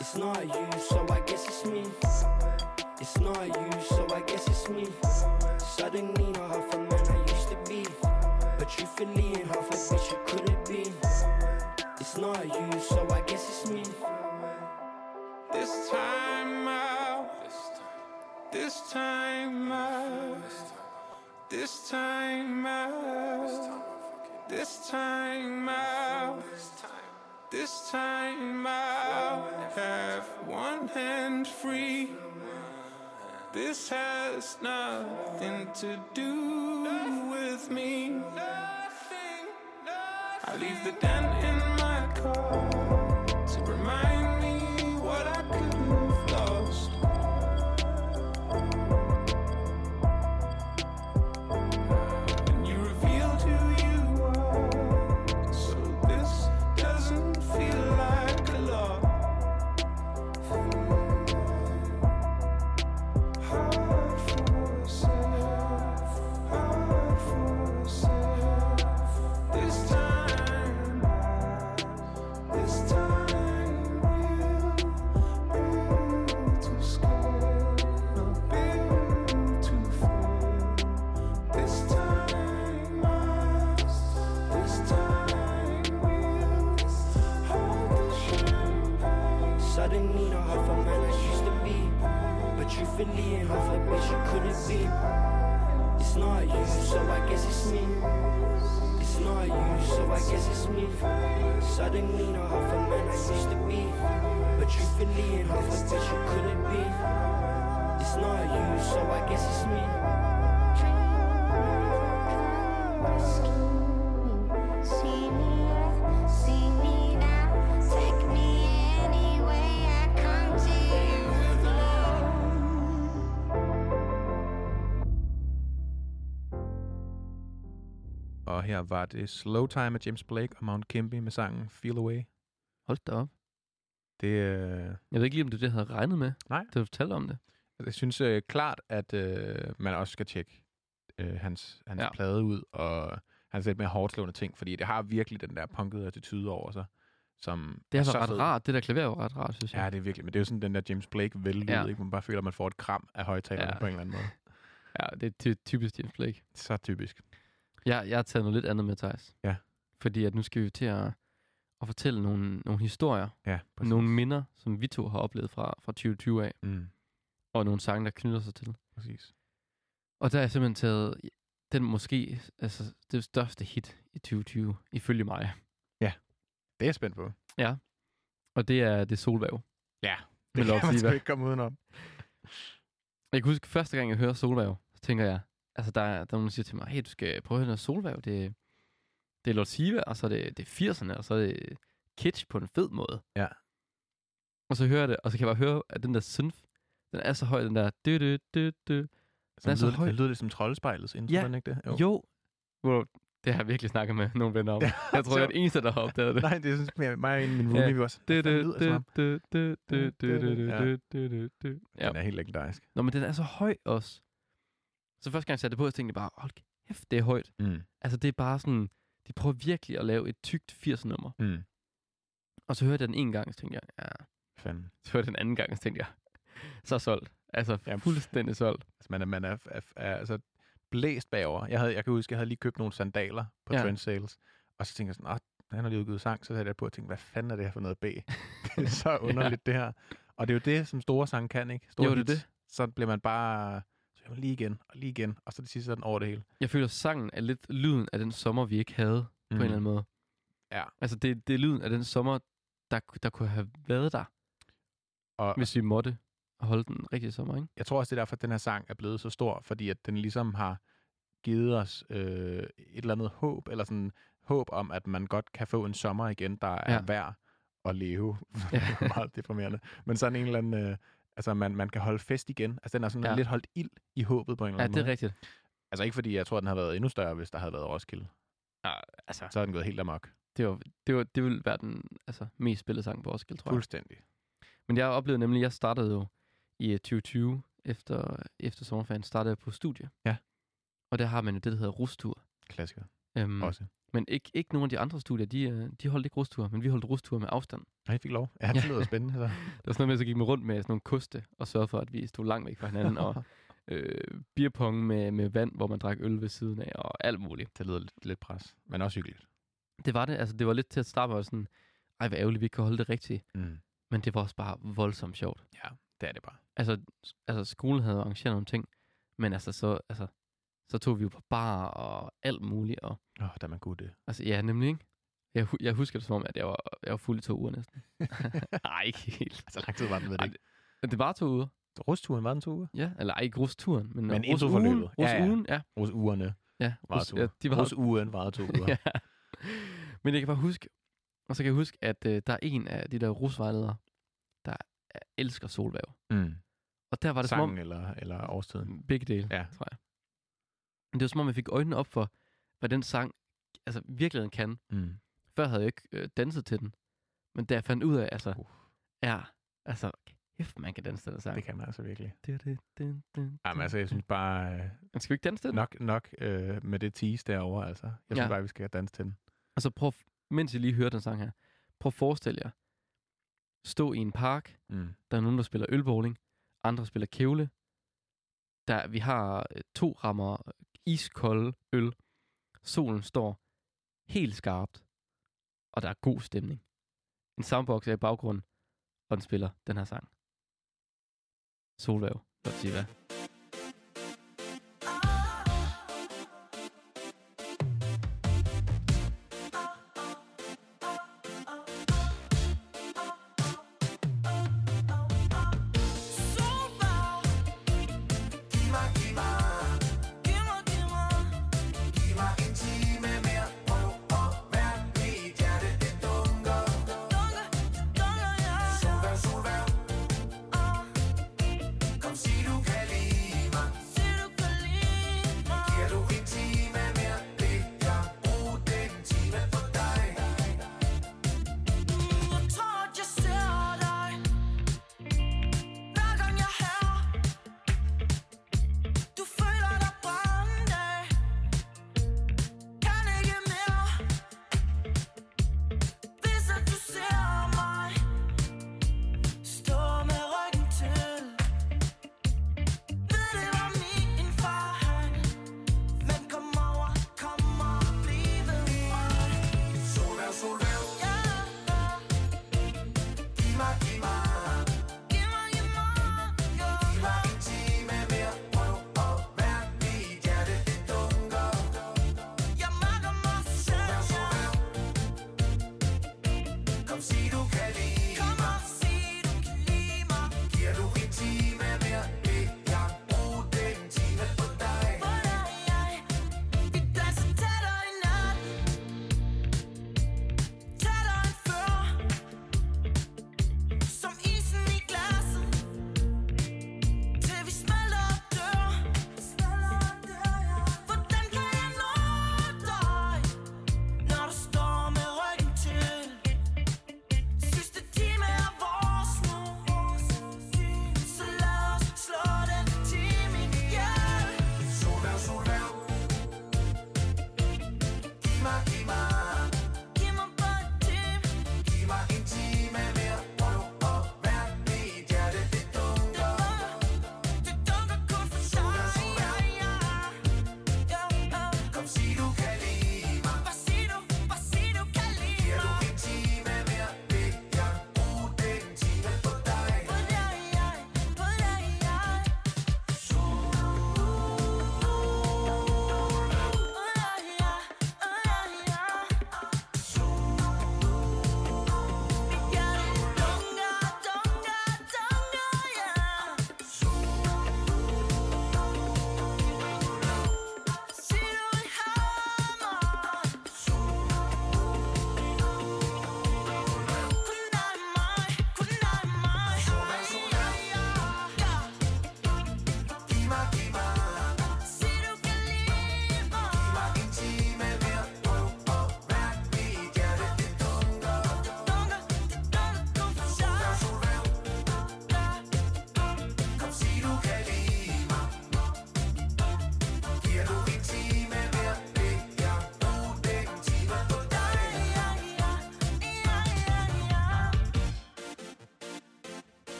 Speaker 6: It's not you, so I guess it's me. It's not you, so I guess it's me. Suddenly not half a man I used to be, but you truthfully ain't half a bitch you couldn't be. It's not you, so I guess it's me.
Speaker 7: This time out. This time out. This time out. This time out. This time out. Have one hand free. This has nothing to do with me. I leave the dent in my car to remind me what I could have lost. And you revealed who you are, so this doesn't feel like a lot. Hmm. Hard for self, hard for self. This time, this time we'll build to scale, not build to fail. This time, this time we'll hold the champagne.
Speaker 6: Suddenly the half a man I used to be, but truthfully ain't half a bitch you couldn't be. It's not you, so I guess it's me. It's not you, so I guess it's me. Suddenly the half a man I used to be, but truthfully ain't half a bitch you couldn't be. It's not you, so I guess it's me.
Speaker 8: See me up, see me now, take me any way I come to you with love.
Speaker 1: Og her var det Slow Time af James Blake og Mount Kimby med sangen Feel Away.
Speaker 2: Hold da op.
Speaker 1: Det, øh,
Speaker 2: Jeg ved ikke lige, om det er det, jeg havde regnet med,
Speaker 1: Nej.
Speaker 2: da du fortalte om det.
Speaker 1: jeg synes øh, klart, at øh, man også skal tjekke øh, hans, hans
Speaker 2: Ja.
Speaker 1: ja. plade ud og hans lidt mere hårdslående ting, fordi det har virkelig den der punkede attitude over sig, som
Speaker 2: Det
Speaker 1: er
Speaker 2: har
Speaker 1: så
Speaker 2: været altså ret
Speaker 1: fed.
Speaker 2: rart. Det der klaver var ret rart, synes jeg.
Speaker 1: Ja, det er virkelig. Men det er jo sådan den der James Blake vellyd,
Speaker 2: Ja.
Speaker 1: ja. ikke? Man bare føler, at man får et kram af højtalerne
Speaker 2: Ja.
Speaker 1: ja. på en eller anden måde.
Speaker 2: Ja, det er ty- typisk James Blake.
Speaker 1: Så typisk.
Speaker 2: Jeg, jeg har taget noget lidt andet med, Thijs.
Speaker 1: Ja.
Speaker 2: Fordi at nu skal vi til at, at fortælle nogle, nogle historier,
Speaker 1: Ja,
Speaker 2: Præcis. nogle minder, som vi to har oplevet fra, fra 2020 af,
Speaker 1: Mm,
Speaker 2: og nogle sange, der knytter sig til.
Speaker 1: præcis.
Speaker 2: Og der har jeg simpelthen taget den måske, altså det største hit i 2020, ifølge mig.
Speaker 1: Det er jeg spændt på.
Speaker 2: Og det er det solvæv.
Speaker 1: Ja,
Speaker 2: Med
Speaker 1: Det kan man sgu
Speaker 2: Lopsiva.
Speaker 1: ikke komme udenom.
Speaker 2: Jeg kan huske, første gang jeg hører solvæv, så tænker jeg, altså der, er- der er nogen, der siger til mig, hey, du skal prøve at høre noget solvæv, det, det er Lord Siva, og så er det, det er 80'erne, og så er det kitsch på en fed måde.
Speaker 1: Ja.
Speaker 2: Og så hører jeg det, og så kan jeg bare høre, at den der synth, den er så høj, den der dø, dø, dø, dø.
Speaker 1: Som
Speaker 2: er så
Speaker 1: lyder,
Speaker 2: høj.
Speaker 1: det lyder lidt som troldspejlets intro,
Speaker 2: Ja.
Speaker 1: ja. ikke det?
Speaker 2: Jo. jo. Wow, det har jeg virkelig snakket med nogle venner om.
Speaker 1: Ja,
Speaker 2: jeg tror, jeg er
Speaker 1: sjovt.
Speaker 2: den eneste, der har opdaget det.
Speaker 1: Nej, det synes jeg, mig og en af mine
Speaker 2: Ja.
Speaker 1: roomie, vi var sådan,
Speaker 2: Det,
Speaker 1: det,
Speaker 2: det,
Speaker 1: lyder som
Speaker 2: det,
Speaker 1: om.
Speaker 2: det, det, det, det, det,
Speaker 1: Ja.
Speaker 2: det, det, det, det. Ja.
Speaker 1: Den er helt legendarisk.
Speaker 2: Nå, men den er så høj også. Så første gang jeg satte det på, så tænkte jeg bare, hold kæft, det er højt.
Speaker 1: Mm.
Speaker 2: Altså, det er bare sådan, de prøver virkelig at lave et tykt 80'er-nummer.
Speaker 1: Mm.
Speaker 2: Og så hørte jeg den en gang, så tænkte jeg, ja.
Speaker 1: Fanden.
Speaker 2: Så hørte jeg den anden gang, så tænkte jeg, så er solgt. Altså,
Speaker 1: Jamen.
Speaker 2: fuldstændig solgt.
Speaker 1: Altså, man er, man er, er, er altså, blæst bagover. Jeg, havde, jeg kan huske, jeg havde lige købt nogle sandaler på
Speaker 2: Ja.
Speaker 1: ja. Trend Sales, og så tænkte jeg sådan, ah, han har lige udgivet sang, så satte jeg på og tænkte, hvad fanden er det her for noget B? det er så underligt, ja. det her. Og det er jo det, som store sange kan, ikke? Store
Speaker 2: Jo, det er
Speaker 1: hits. Så bliver man bare, så bliver man lige igen, og lige igen, og så det sidste sådan over det hele.
Speaker 2: Jeg føler, sangen er lidt lyden af den sommer, vi ikke havde, på en eller anden måde.
Speaker 1: Mm. Ja.
Speaker 2: Altså, det, det er lyden af den sommer, der, der kunne have været der,
Speaker 1: Og
Speaker 2: hvis vi måtte holde den rigtige sommer, ikke?
Speaker 1: jeg tror også, det er derfor, at den her sang er blevet så stor, fordi at den ligesom har givet os øh, et eller andet håb, eller sådan håb om, at man godt kan få en sommer igen, der
Speaker 2: Ja.
Speaker 1: er ja. værd at leve.
Speaker 2: Ja.
Speaker 1: det er meget deprimerende. Men sådan en eller anden, øh, altså man, man kan holde fest igen. Altså den er sådan
Speaker 2: Ja.
Speaker 1: ja. lidt holdt ild i håbet på en eller
Speaker 2: Ja,
Speaker 1: anden
Speaker 2: det er
Speaker 1: måde.
Speaker 2: rigtigt.
Speaker 1: Altså ikke fordi, jeg tror, den har været endnu større, hvis der havde været Roskilde.
Speaker 2: Altså,
Speaker 1: Så er den gået helt amok.
Speaker 2: det, var, det, var, det ville være den altså, mest spillede sang på Roskilde, tror jeg.
Speaker 1: Fuldstændig.
Speaker 2: Men jeg oplevede nemlig, jeg startede jo i øh, 2020, efter, efter sommerferien, startede jeg på studie.
Speaker 1: Ja.
Speaker 2: Og der har man jo det, der hedder rustur.
Speaker 1: Klassiker
Speaker 2: Øhm,
Speaker 1: mm. også.
Speaker 2: men ikke, ikke nogen af de andre studier, de, øh, de holdt ikke rustur, men vi holdt rustur med afstand.
Speaker 1: Nej, jeg fik lov. Ja,
Speaker 2: Ja.
Speaker 1: det lyder spændende. Så.
Speaker 2: Der var sådan noget med, at så gik man rundt med sådan nogle koste og sørgede for, at vi stod langt væk fra hinanden, og øh, beerpong med, med vand, hvor man drak øl ved siden af, og alt muligt.
Speaker 1: Det lyder lidt, lidt pres, men også hyggeligt.
Speaker 2: Det var det, altså det var lidt til at starte med sådan, ej, hvor ærgerligt, vi ikke kan holde det rigtigt.
Speaker 1: Mm.
Speaker 2: Men det var også bare voldsomt sjovt.
Speaker 1: Det er det bare.
Speaker 2: altså, altså skolen havde arrangeret nogle ting, men altså så, altså, så tog vi jo på bar og alt muligt. Og,
Speaker 1: Åh, oh, der er man god det.
Speaker 2: altså ja, nemlig ikke? Jeg, hu- jeg husker det som om, at jeg var, jeg var fuld i to uger næsten. Nej, ikke helt.
Speaker 1: Så Altså, lang tid var den ved det
Speaker 2: Ej,
Speaker 1: ikke.
Speaker 2: Det var to uger,
Speaker 1: Rusturen var den to uger?
Speaker 2: ja. Eller ej, ikke rusturen, men,
Speaker 1: Men
Speaker 2: rusugen.
Speaker 1: introforløbet. Ja,
Speaker 2: Ja,
Speaker 1: ja.
Speaker 2: ja. ja.
Speaker 1: Rus-ugerne
Speaker 2: ja,
Speaker 1: var
Speaker 2: rus-
Speaker 1: to
Speaker 2: ja,
Speaker 1: uger.
Speaker 2: de var,
Speaker 1: Rus-ugen var to uger.
Speaker 2: ja. Men jeg kan bare huske, og så kan jeg huske, at øh, der er en af de der rusvejledere, der øh, elsker solvæv.
Speaker 1: Mm.
Speaker 2: Og der var det som om,
Speaker 1: Sangen eller, eller årstiden.
Speaker 2: Begge dele, ja.
Speaker 1: Ja.
Speaker 2: tror jeg. Men det var som om, jeg fik øjnene op for, hvad den sang altså, virkeligheden kan.
Speaker 1: Mm.
Speaker 2: Før havde jeg ikke øh, danset til den. Men da jeg fandt ud af, altså,
Speaker 1: Uh.
Speaker 2: ja, altså, kæft, man kan danse til den sang.
Speaker 1: Det kan man altså virkelig.
Speaker 2: Det, det, det, det,
Speaker 1: Jamen, altså, jeg synes bare, øh,
Speaker 2: Skal vi ikke danse til den?
Speaker 1: nok, nok øh, med det tease derovre, altså. Jeg synes
Speaker 2: Ja.
Speaker 1: ja. bare, vi skal danse til den.
Speaker 2: Og så prøv, mens I lige hører den sang her, prøv at forestille jer, stå i en park,
Speaker 1: Mm.
Speaker 2: Der er nogen, der spiller ølbowling. Andre spiller kævle. Der, vi har øh, to rammer iskold øl. Solen står helt skarpt. Og der er god stemning. En soundbox er i baggrunden. Og den spiller den her sang. Solvæv. Lad os sige hvad.
Speaker 9: Solvang,
Speaker 8: oh,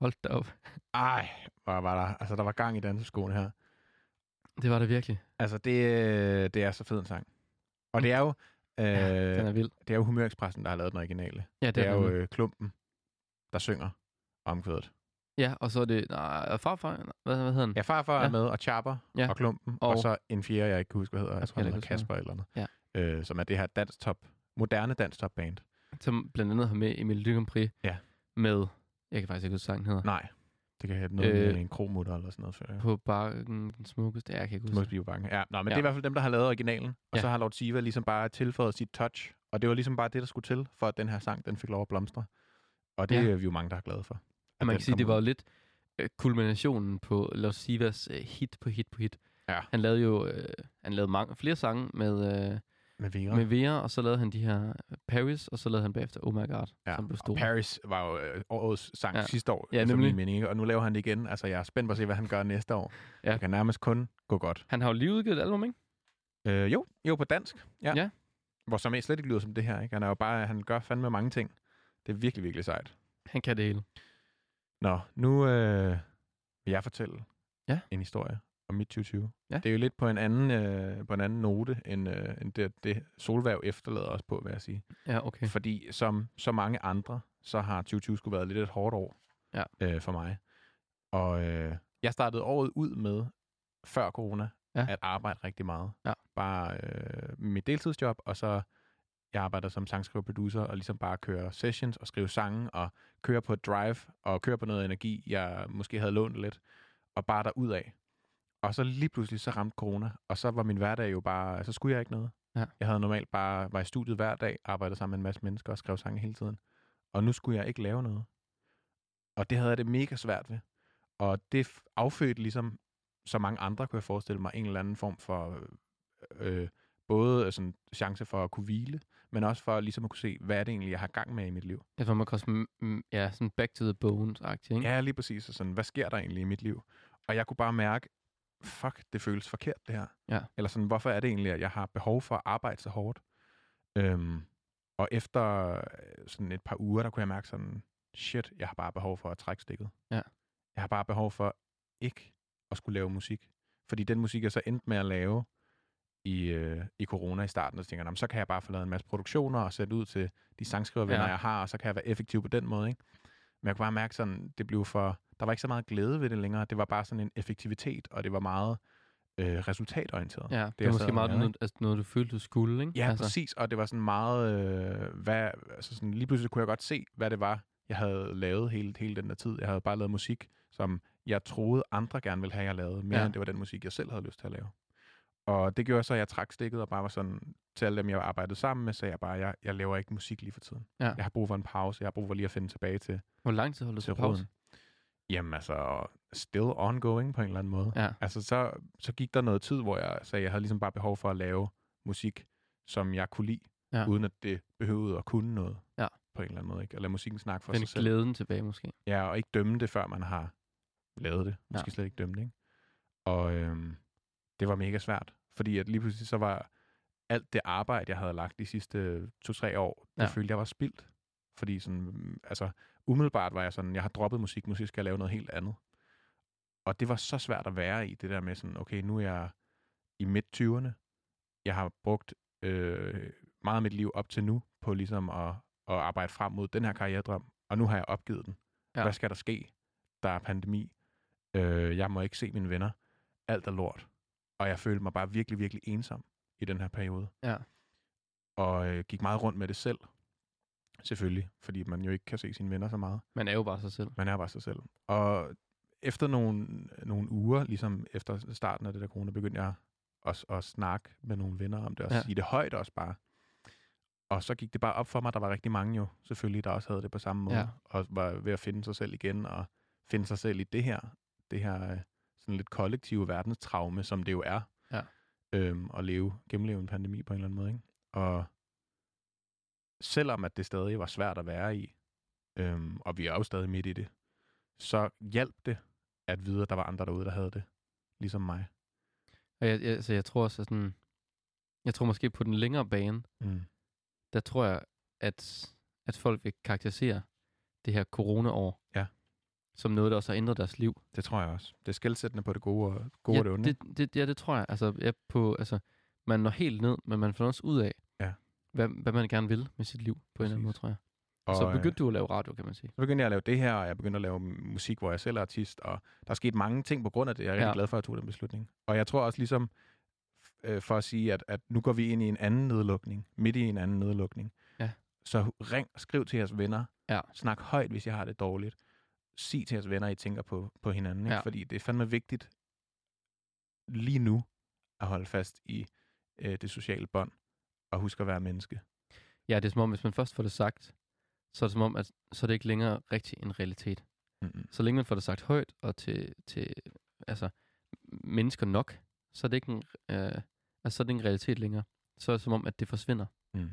Speaker 2: Hold da op.
Speaker 1: Ej, hvor var der, altså, der var gang i danseskoen her.
Speaker 2: Det var det virkelig.
Speaker 1: Altså, det, øh, det er så fed en sang. Og det er jo, øh,
Speaker 2: Øh, den er vild.
Speaker 1: det er jo Humørekspressen, der har lavet den originale.
Speaker 2: Ja,
Speaker 1: Det er jo
Speaker 2: vild.
Speaker 1: øh, klumpen, der synger omkvædet.
Speaker 2: Ja, og så er det... Nej, og farfar... nej, Hvad, hvad hedder han?
Speaker 1: Ja, farfar ja.
Speaker 2: Ja.
Speaker 1: er med, og Chapper,
Speaker 2: Ja.
Speaker 1: ja. og Klumpen, og,
Speaker 2: Og-
Speaker 1: og så en fjerde, jeg ikke kan huske, hvad hedder. Jeg
Speaker 2: Jeg
Speaker 1: tror,
Speaker 2: kan
Speaker 1: han hedder
Speaker 2: heller ikke
Speaker 1: Kasper eller noget. Øh, som er det her dansk top, moderne dansk top band.
Speaker 2: Som blandt andet har med Emil Lykkenpri.
Speaker 1: Ja.
Speaker 2: Med... Jeg kan faktisk ikke huske, hvad sangen hedder.
Speaker 1: Nej, det kan have noget øh, med
Speaker 2: Øh,
Speaker 1: en kromutter eller sådan noget. Før, ja.
Speaker 2: På barken, den smukkeste. Ja, jeg kan ikke huske.
Speaker 1: Smukke Biobanken. Ja, nå, men ja. det
Speaker 2: Ja.
Speaker 1: er i hvert fald dem, der har lavet originalen. Og
Speaker 2: Ja.
Speaker 1: ja. så har Lord Siva ligesom bare tilføjet sit touch. Og det var ligesom bare det, der skulle til, for at den her sang, den fik lov at blomstre. Og det
Speaker 2: Ja.
Speaker 1: ja. er vi jo mange, der er glade for.
Speaker 2: Og man
Speaker 1: den
Speaker 2: kan sige,
Speaker 1: kom
Speaker 2: det
Speaker 1: ud.
Speaker 2: var jo lidt øh, kulminationen på Los Sivas øh, hit på hit på hit.
Speaker 1: Ja.
Speaker 2: Han lavede jo øh, han lavede mange flere sange med, øh,
Speaker 1: Med Vera.
Speaker 2: med Vera, og så lavede han de her øh, Paris, og så lavede han bagefter Oh My God,
Speaker 1: ja.
Speaker 2: som blev
Speaker 1: og
Speaker 2: stor.
Speaker 1: Paris var jo øh, årets sang
Speaker 2: Ja.
Speaker 1: ja. sidste år,
Speaker 2: Ja,
Speaker 1: ja, efter
Speaker 2: nemlig.
Speaker 1: min mening. Ikke? Og nu laver han det igen. Altså, jeg er spændt på at se, hvad han gør næste år.
Speaker 2: Ja.
Speaker 1: Ja. Det kan nærmest kun gå godt.
Speaker 2: Han har jo lige udgivet et album, ikke?
Speaker 1: Øh, jo, jo på dansk. Ja.
Speaker 2: Ja.
Speaker 1: Hvor som slet ikke lyder som det her. Ikke? Han, er jo bare, han gør fandme mange ting. Det er virkelig, virkelig sejt.
Speaker 2: Han kan det hele.
Speaker 1: Nå, nu øh, vil jeg fortælle
Speaker 2: Ja.
Speaker 1: en historie om mit 2020.
Speaker 2: Ja.
Speaker 1: Det er jo lidt på en anden, øh, på en anden note, end, øh, end det, det solværv efterlader os på, vil jeg sige.
Speaker 2: Ja, okay.
Speaker 1: Okay. Fordi som så mange andre, så har 2020 skulle været lidt et hårdt år
Speaker 2: Ja.
Speaker 1: øh, for mig. Og øh, jeg startede året ud med, før corona,
Speaker 2: Ja.
Speaker 1: ja. at arbejde rigtig meget.
Speaker 2: Ja.
Speaker 1: Bare øh, mit deltidsjob, og så jeg arbejder som sangskriver producer, og ligesom bare køre sessions og skrive sange, og køre på et drive, og køre på noget energi, jeg måske havde lånt lidt, og bare derudad. Og så lige pludselig, så ramte corona, og så var min hverdag jo bare, så skulle jeg ikke noget.
Speaker 2: Ja.
Speaker 1: Jeg havde normalt bare, var i studiet hver dag, arbejdede sammen med en masse mennesker og skrev sange hele tiden. Og nu skulle jeg ikke lave noget. Og det havde jeg det mega svært ved. Og det f- affødte ligesom så mange andre, kunne jeg forestille mig, en eller anden form for øh, både sådan chance for at kunne hvile, men også for ligesom at kunne se, hvad er det egentlig, jeg har gang med i mit liv.
Speaker 2: Jeg tror, man kan også, mm, mm, ja, sådan back to the bones-agtig, ikke?
Speaker 1: Ja, lige præcis. Og sådan, hvad sker der egentlig i mit liv? Og jeg kunne bare mærke, fuck, det føles forkert, det her.
Speaker 2: Ja.
Speaker 1: Eller sådan, hvorfor er det egentlig, at jeg har behov for at arbejde så hårdt? Øhm, og efter øh, sådan et par uger, der kunne jeg mærke sådan, shit, jeg har bare behov for at trække stikket.
Speaker 2: Ja.
Speaker 1: Jeg har bare behov for ikke at skulle lave musik. Fordi den musik, jeg så endte med at lave i, øh, i corona i starten, og så tænker jeg, "Nå, men så kan jeg bare få lavet en masse produktioner og sætte ud til de sangskrivervenner,
Speaker 2: Ja.
Speaker 1: ja. jeg har, og så kan jeg være effektiv på den måde. Ikke? Men jeg kunne bare mærke sådan, det blev for, der var ikke så meget glæde ved det længere. Det var bare sådan en effektivitet, og det var meget øh, resultatorienteret.
Speaker 2: Ja, det,
Speaker 1: jeg
Speaker 2: er måske
Speaker 1: sad og
Speaker 2: meget
Speaker 1: lavede,
Speaker 2: noget, altså, noget, du følte, du skulle, ikke?
Speaker 1: Ja, altså.
Speaker 2: altså,
Speaker 1: præcis. Og det var sådan meget... Øh, hvad, altså sådan, lige pludselig kunne jeg godt se, hvad det var, jeg havde lavet hele, hele den der tid. Jeg havde bare lavet musik, som jeg troede, andre gerne ville have, jeg lavede. Mere
Speaker 2: Ja.
Speaker 1: ja. end det var den musik, jeg selv havde lyst til at lave. Og det gjorde så, at jeg trak stikket og bare var sådan... Til alle dem, jeg arbejdede sammen med, sagde jeg bare, jeg, jeg laver ikke musik lige for tiden.
Speaker 2: Ja.
Speaker 1: Jeg har brug for en pause. Jeg har brug for lige at finde tilbage til,
Speaker 2: Hvor lang tid holdt du
Speaker 1: til
Speaker 2: så pause?
Speaker 1: roden. Jamen altså, still ongoing på en eller anden måde.
Speaker 2: Ja.
Speaker 1: Altså, så, så gik der noget tid, hvor jeg sagde, jeg havde ligesom bare behov for at lave musik, som jeg kunne lide,
Speaker 2: Ja.
Speaker 1: ja. uden at det behøvede at kunne noget
Speaker 2: Ja.
Speaker 1: på en eller anden måde. Ikke? At lade musikken snakke for
Speaker 2: Find
Speaker 1: sig selv.
Speaker 2: glæden tilbage, måske.
Speaker 1: Ja, og ikke dømme det, før man har lavet det. Måske
Speaker 2: Ja.
Speaker 1: ja. slet ikke dømme det, ikke? Og øhm, det var mega svært, fordi at lige pludselig så var alt det arbejde, jeg havde lagt de sidste to-tre år, det
Speaker 2: Ja.
Speaker 1: følte jeg var spildt. Fordi sådan, mm, altså umiddelbart var jeg sådan, jeg har droppet musik, måske skal jeg lave noget helt andet. Og det var så svært at være i, det der med sådan, okay, nu er jeg i midt-20'erne. Jeg har brugt øh, meget af mit liv op til nu på ligesom at, at arbejde frem mod den her karrieredrøm, og nu har jeg opgivet den.
Speaker 2: Ja.
Speaker 1: Ja. Hvad skal der ske? Der er pandemi. Øh, jeg må ikke se mine venner. Alt er lort. Og jeg følte mig bare virkelig, virkelig ensom i den her periode.
Speaker 2: Ja.
Speaker 1: Og øh, gik meget rundt med det selv. Selvfølgelig, fordi man jo ikke kan se sine venner så meget.
Speaker 2: Man er jo bare sig selv.
Speaker 1: Man er bare sig selv. Og efter nogle, nogle uger, ligesom efter starten af det der corona, begyndte jeg at, at snakke med nogle venner om det, og
Speaker 2: Ja.
Speaker 1: ja. sige det højt også bare. Og så gik det bare op for mig, der var rigtig mange jo, selvfølgelig, der også havde det på samme måde,
Speaker 2: Ja.
Speaker 1: ja. og var ved at finde sig selv igen, og finde sig selv i det her, det her øh, sådan lidt kollektive verdenstraume, som det jo er,
Speaker 2: Ja.
Speaker 1: øhm, at leve, gennemleve en pandemi på en eller anden måde. Ikke? Og selvom at det stadig var svært at være i, øhm, og vi er jo stadig midt i det, så hjalp det at vide, at der var andre derude, der havde det, ligesom mig.
Speaker 2: Og jeg, jeg, så jeg tror også, at sådan, jeg tror måske på den længere bane,
Speaker 1: Mm.
Speaker 2: der tror jeg, at, at folk vil karakterisere det her corona-år
Speaker 1: Ja.
Speaker 2: som noget, der også har ændret deres liv.
Speaker 1: Det tror jeg også. Det er skældsættende på det gode og, gode ja, og det
Speaker 2: ja,
Speaker 1: onde. Det...
Speaker 2: det, det, ja, det tror jeg. Altså, ja, på, altså, man når helt ned, men man finder også ud af,
Speaker 1: Ja.
Speaker 2: hvad, hvad man gerne vil med sit liv, på en eller anden
Speaker 1: Præcis.
Speaker 2: måde, tror jeg.
Speaker 1: Og,
Speaker 2: så
Speaker 1: øh,
Speaker 2: begyndte du at lave radio, kan man sige.
Speaker 1: Så begyndte jeg at lave det her, og jeg begyndte at lave musik, hvor jeg selv er artist, og der er sket mange ting på grund af det. Jeg er rigtig
Speaker 2: Ja.
Speaker 1: glad for, at jeg tog den beslutning. Og jeg tror også ligesom, øh, for at sige, at, at nu går vi ind i en anden nedlukning, midt i en anden nedlukning.
Speaker 2: Ja.
Speaker 1: Så ring, skriv til jeres venner,
Speaker 2: Ja.
Speaker 1: snak højt, hvis jeg har det dårligt. Sig til jeres venner, I tænker på, på hinanden, ikke?
Speaker 2: Ja.
Speaker 1: fordi det er fandme vigtigt lige nu at holde fast i øh, det sociale bånd, og huske at være menneske.
Speaker 2: Ja, det er som om, hvis man først får det sagt, så er det som om, at så er det ikke længere rigtig en realitet.
Speaker 1: Mm-mm.
Speaker 2: Så længe man får det sagt højt og til, til altså, mennesker nok, så er det ikke en, øh, altså, så er det ikke en realitet længere. Så er det som om, at det forsvinder.
Speaker 1: Mm.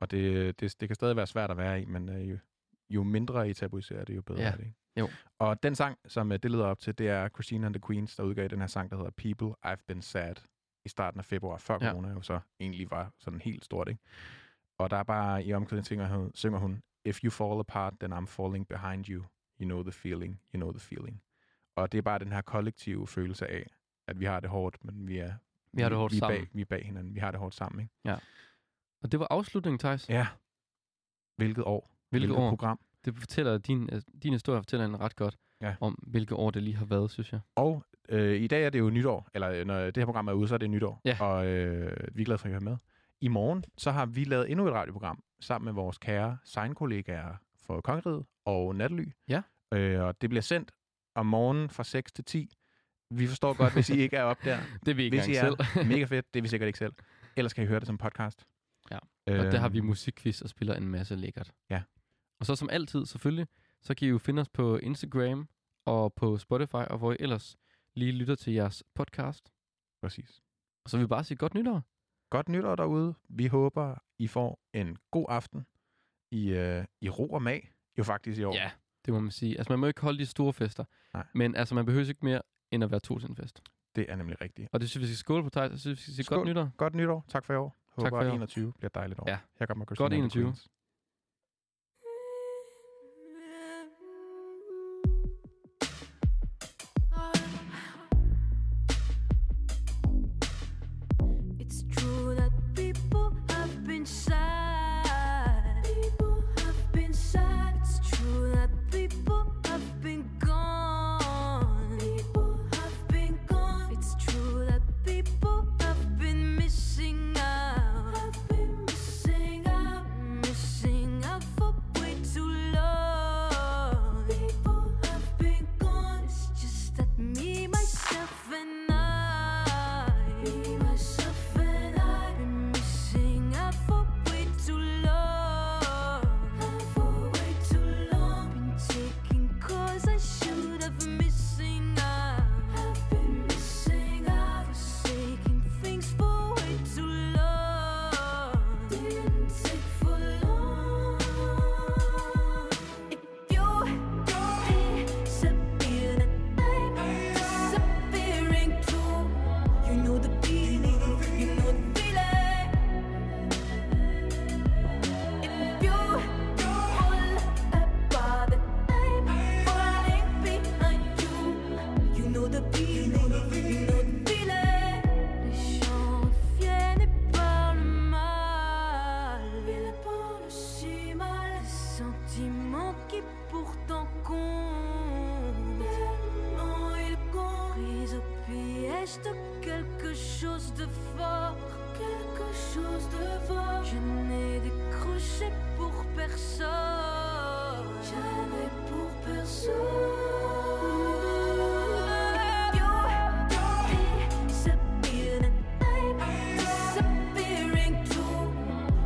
Speaker 1: Og det, det, det kan stadig være svært at være i, men øh, jo, jo mindre I tabuiserer det, jo bedre
Speaker 2: Ja.
Speaker 1: er det. Ikke?
Speaker 2: Jo.
Speaker 1: Og den sang, som øh, det leder op til, det er Christina and the Queens, der udgav den her sang, der hedder People I've Been Sad i starten af februar, før
Speaker 2: Ja.
Speaker 1: ja. corona jo så egentlig var sådan helt stort. Ikke? Og der er bare i omkring synger hun, synger hun, If you fall apart, then I'm falling behind you. You know the feeling, you know the feeling. Og det er bare den her kollektive følelse af, at vi har det hårdt, men vi er,
Speaker 2: Vi har det hårdt
Speaker 1: vi, er
Speaker 2: sammen.
Speaker 1: bag, vi er bag hinanden. Vi har det hårdt sammen, ikke?
Speaker 2: Og det var afslutningen, Thijs.
Speaker 1: Ja. Hvilket år?
Speaker 2: Hvilket år?
Speaker 1: program?
Speaker 2: Det fortæller din, øh, din historie fortæller en ret godt
Speaker 1: Ja.
Speaker 2: om, hvilke år det lige har været, synes jeg.
Speaker 1: Og øh, i dag er det jo nytår, eller øh, når det her program er ude, så er det nytår.
Speaker 2: Ja.
Speaker 1: Og øh, vi er glade for, at I hører med. I morgen, så har vi lavet endnu et radioprogram sammen med vores kære signkollegaer for Kongeriget og Nattely.
Speaker 2: Ja.
Speaker 1: Øh, og det bliver sendt om morgenen fra 6 til 10. Vi forstår godt, hvis I ikke er op der.
Speaker 2: Det er vi ikke
Speaker 1: Hvis I
Speaker 2: engang selv.
Speaker 1: er mega fedt, det er vi sikkert ikke selv. Ellers kan I høre det som podcast.
Speaker 2: Ja, Og der
Speaker 1: Øhm,
Speaker 2: har vi musikquiz og spiller en masse lækkert.
Speaker 1: Ja.
Speaker 2: Og så som altid selvfølgelig, så kan I jo finde os på Instagram og på Spotify, og hvor I ellers lige lytter til jeres podcast.
Speaker 1: Præcis.
Speaker 2: Og så vil vi bare sige godt nytår.
Speaker 1: Godt nytår derude. Vi håber, I får en god aften i, øh, i ro og mag. Jo faktisk i år.
Speaker 2: Ja, det må man sige. Altså man må ikke holde de store fester.
Speaker 1: Nej.
Speaker 2: Men altså man behøver ikke mere end at være to til en fest.
Speaker 1: Det er nemlig rigtigt.
Speaker 2: Og det synes jeg, vi skal skåle på dig. Jeg synes, vi skal sige
Speaker 1: Skål.
Speaker 2: godt nytår.
Speaker 1: Godt nytår. Tak for i år. Håber,
Speaker 2: for i år.
Speaker 1: at 21 bliver et dejligt år.
Speaker 2: Ja.
Speaker 1: Her kommer Christina
Speaker 2: Godt
Speaker 1: and the
Speaker 2: 21.
Speaker 1: Queens.
Speaker 9: It's true that people have been sad. People have been sad. It's true that people have been gone. People have been gone. It's true that people have been missing out. Have been missing out. Missing out for way too long. People have been gone. It's just that me, myself, and I. Me, myself, and I. Been missing out for way too long. For way too long. Been taking calls I should have missing out. Have been missing out. Forsaking things for way too long. Didn't take for long. If you're disappearing, I'm disappearing too. You know the feeling, you know the feeling. If you're all about it, I'm falling behind you. You know the feeling, you know the feeling. Les gens reviennent et parlent mal. Ils parlent si mal. Des sentiments qui pourtant comptent. Tellement ils comptent. Pris au piège de quelque chose de fort. Quelque chose de fort. Je n'ai décroché pour personne. Jamais pour personne. You're disappearing and I'm disappearing too.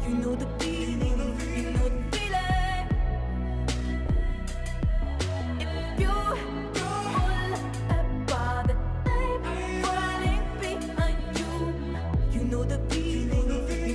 Speaker 9: You know the feeling, you know the feeling. If you're all about it, I'm falling behind you. You know the feeling, you know the feeling.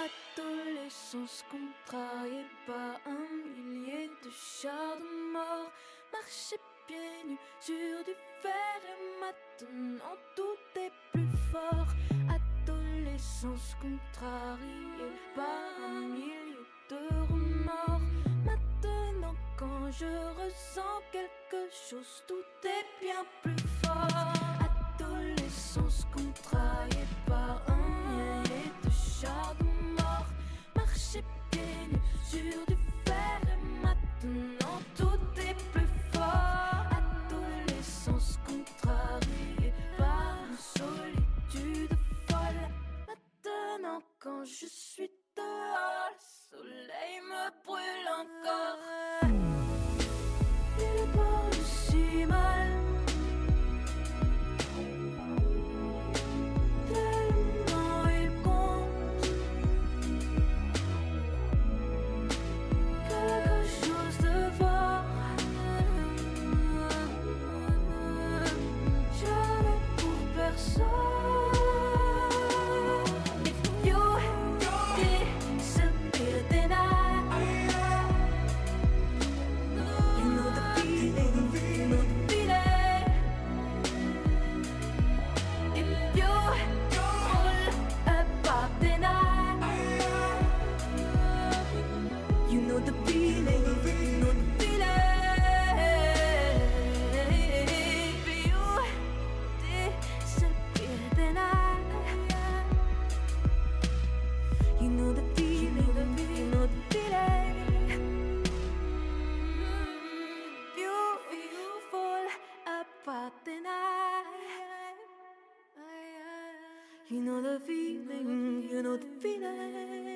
Speaker 9: Adolescence contrariée par un millier de chars de mort. Marcher pieds nus sur du fer et maintenant tout est plus fort. Adolescence contrariée par un milieu de romans. mort. Maintenant, quand je ressens quelque chose, tout est bien plus fort. Adolescence contrariée par un lait de char de mort. Marcher pieds nus sur du fer et maintenant tout est plus fort. Adolescence contrariée par une solitude folle. Maintenant, quand je suis dehors, le soleil me brûle encore. Il brûle si mal. Tellement il compte quelque chose de fort. Jamais pour personne. If you disappear, then I. You know the feeling. You know the feeling. If you fall apart, then I. You know the feeling. You know the feeling. If you disappear, then I. You know the feeling. You know the feeling. If you fall apart, then I. You know the feeling. You know the feeling.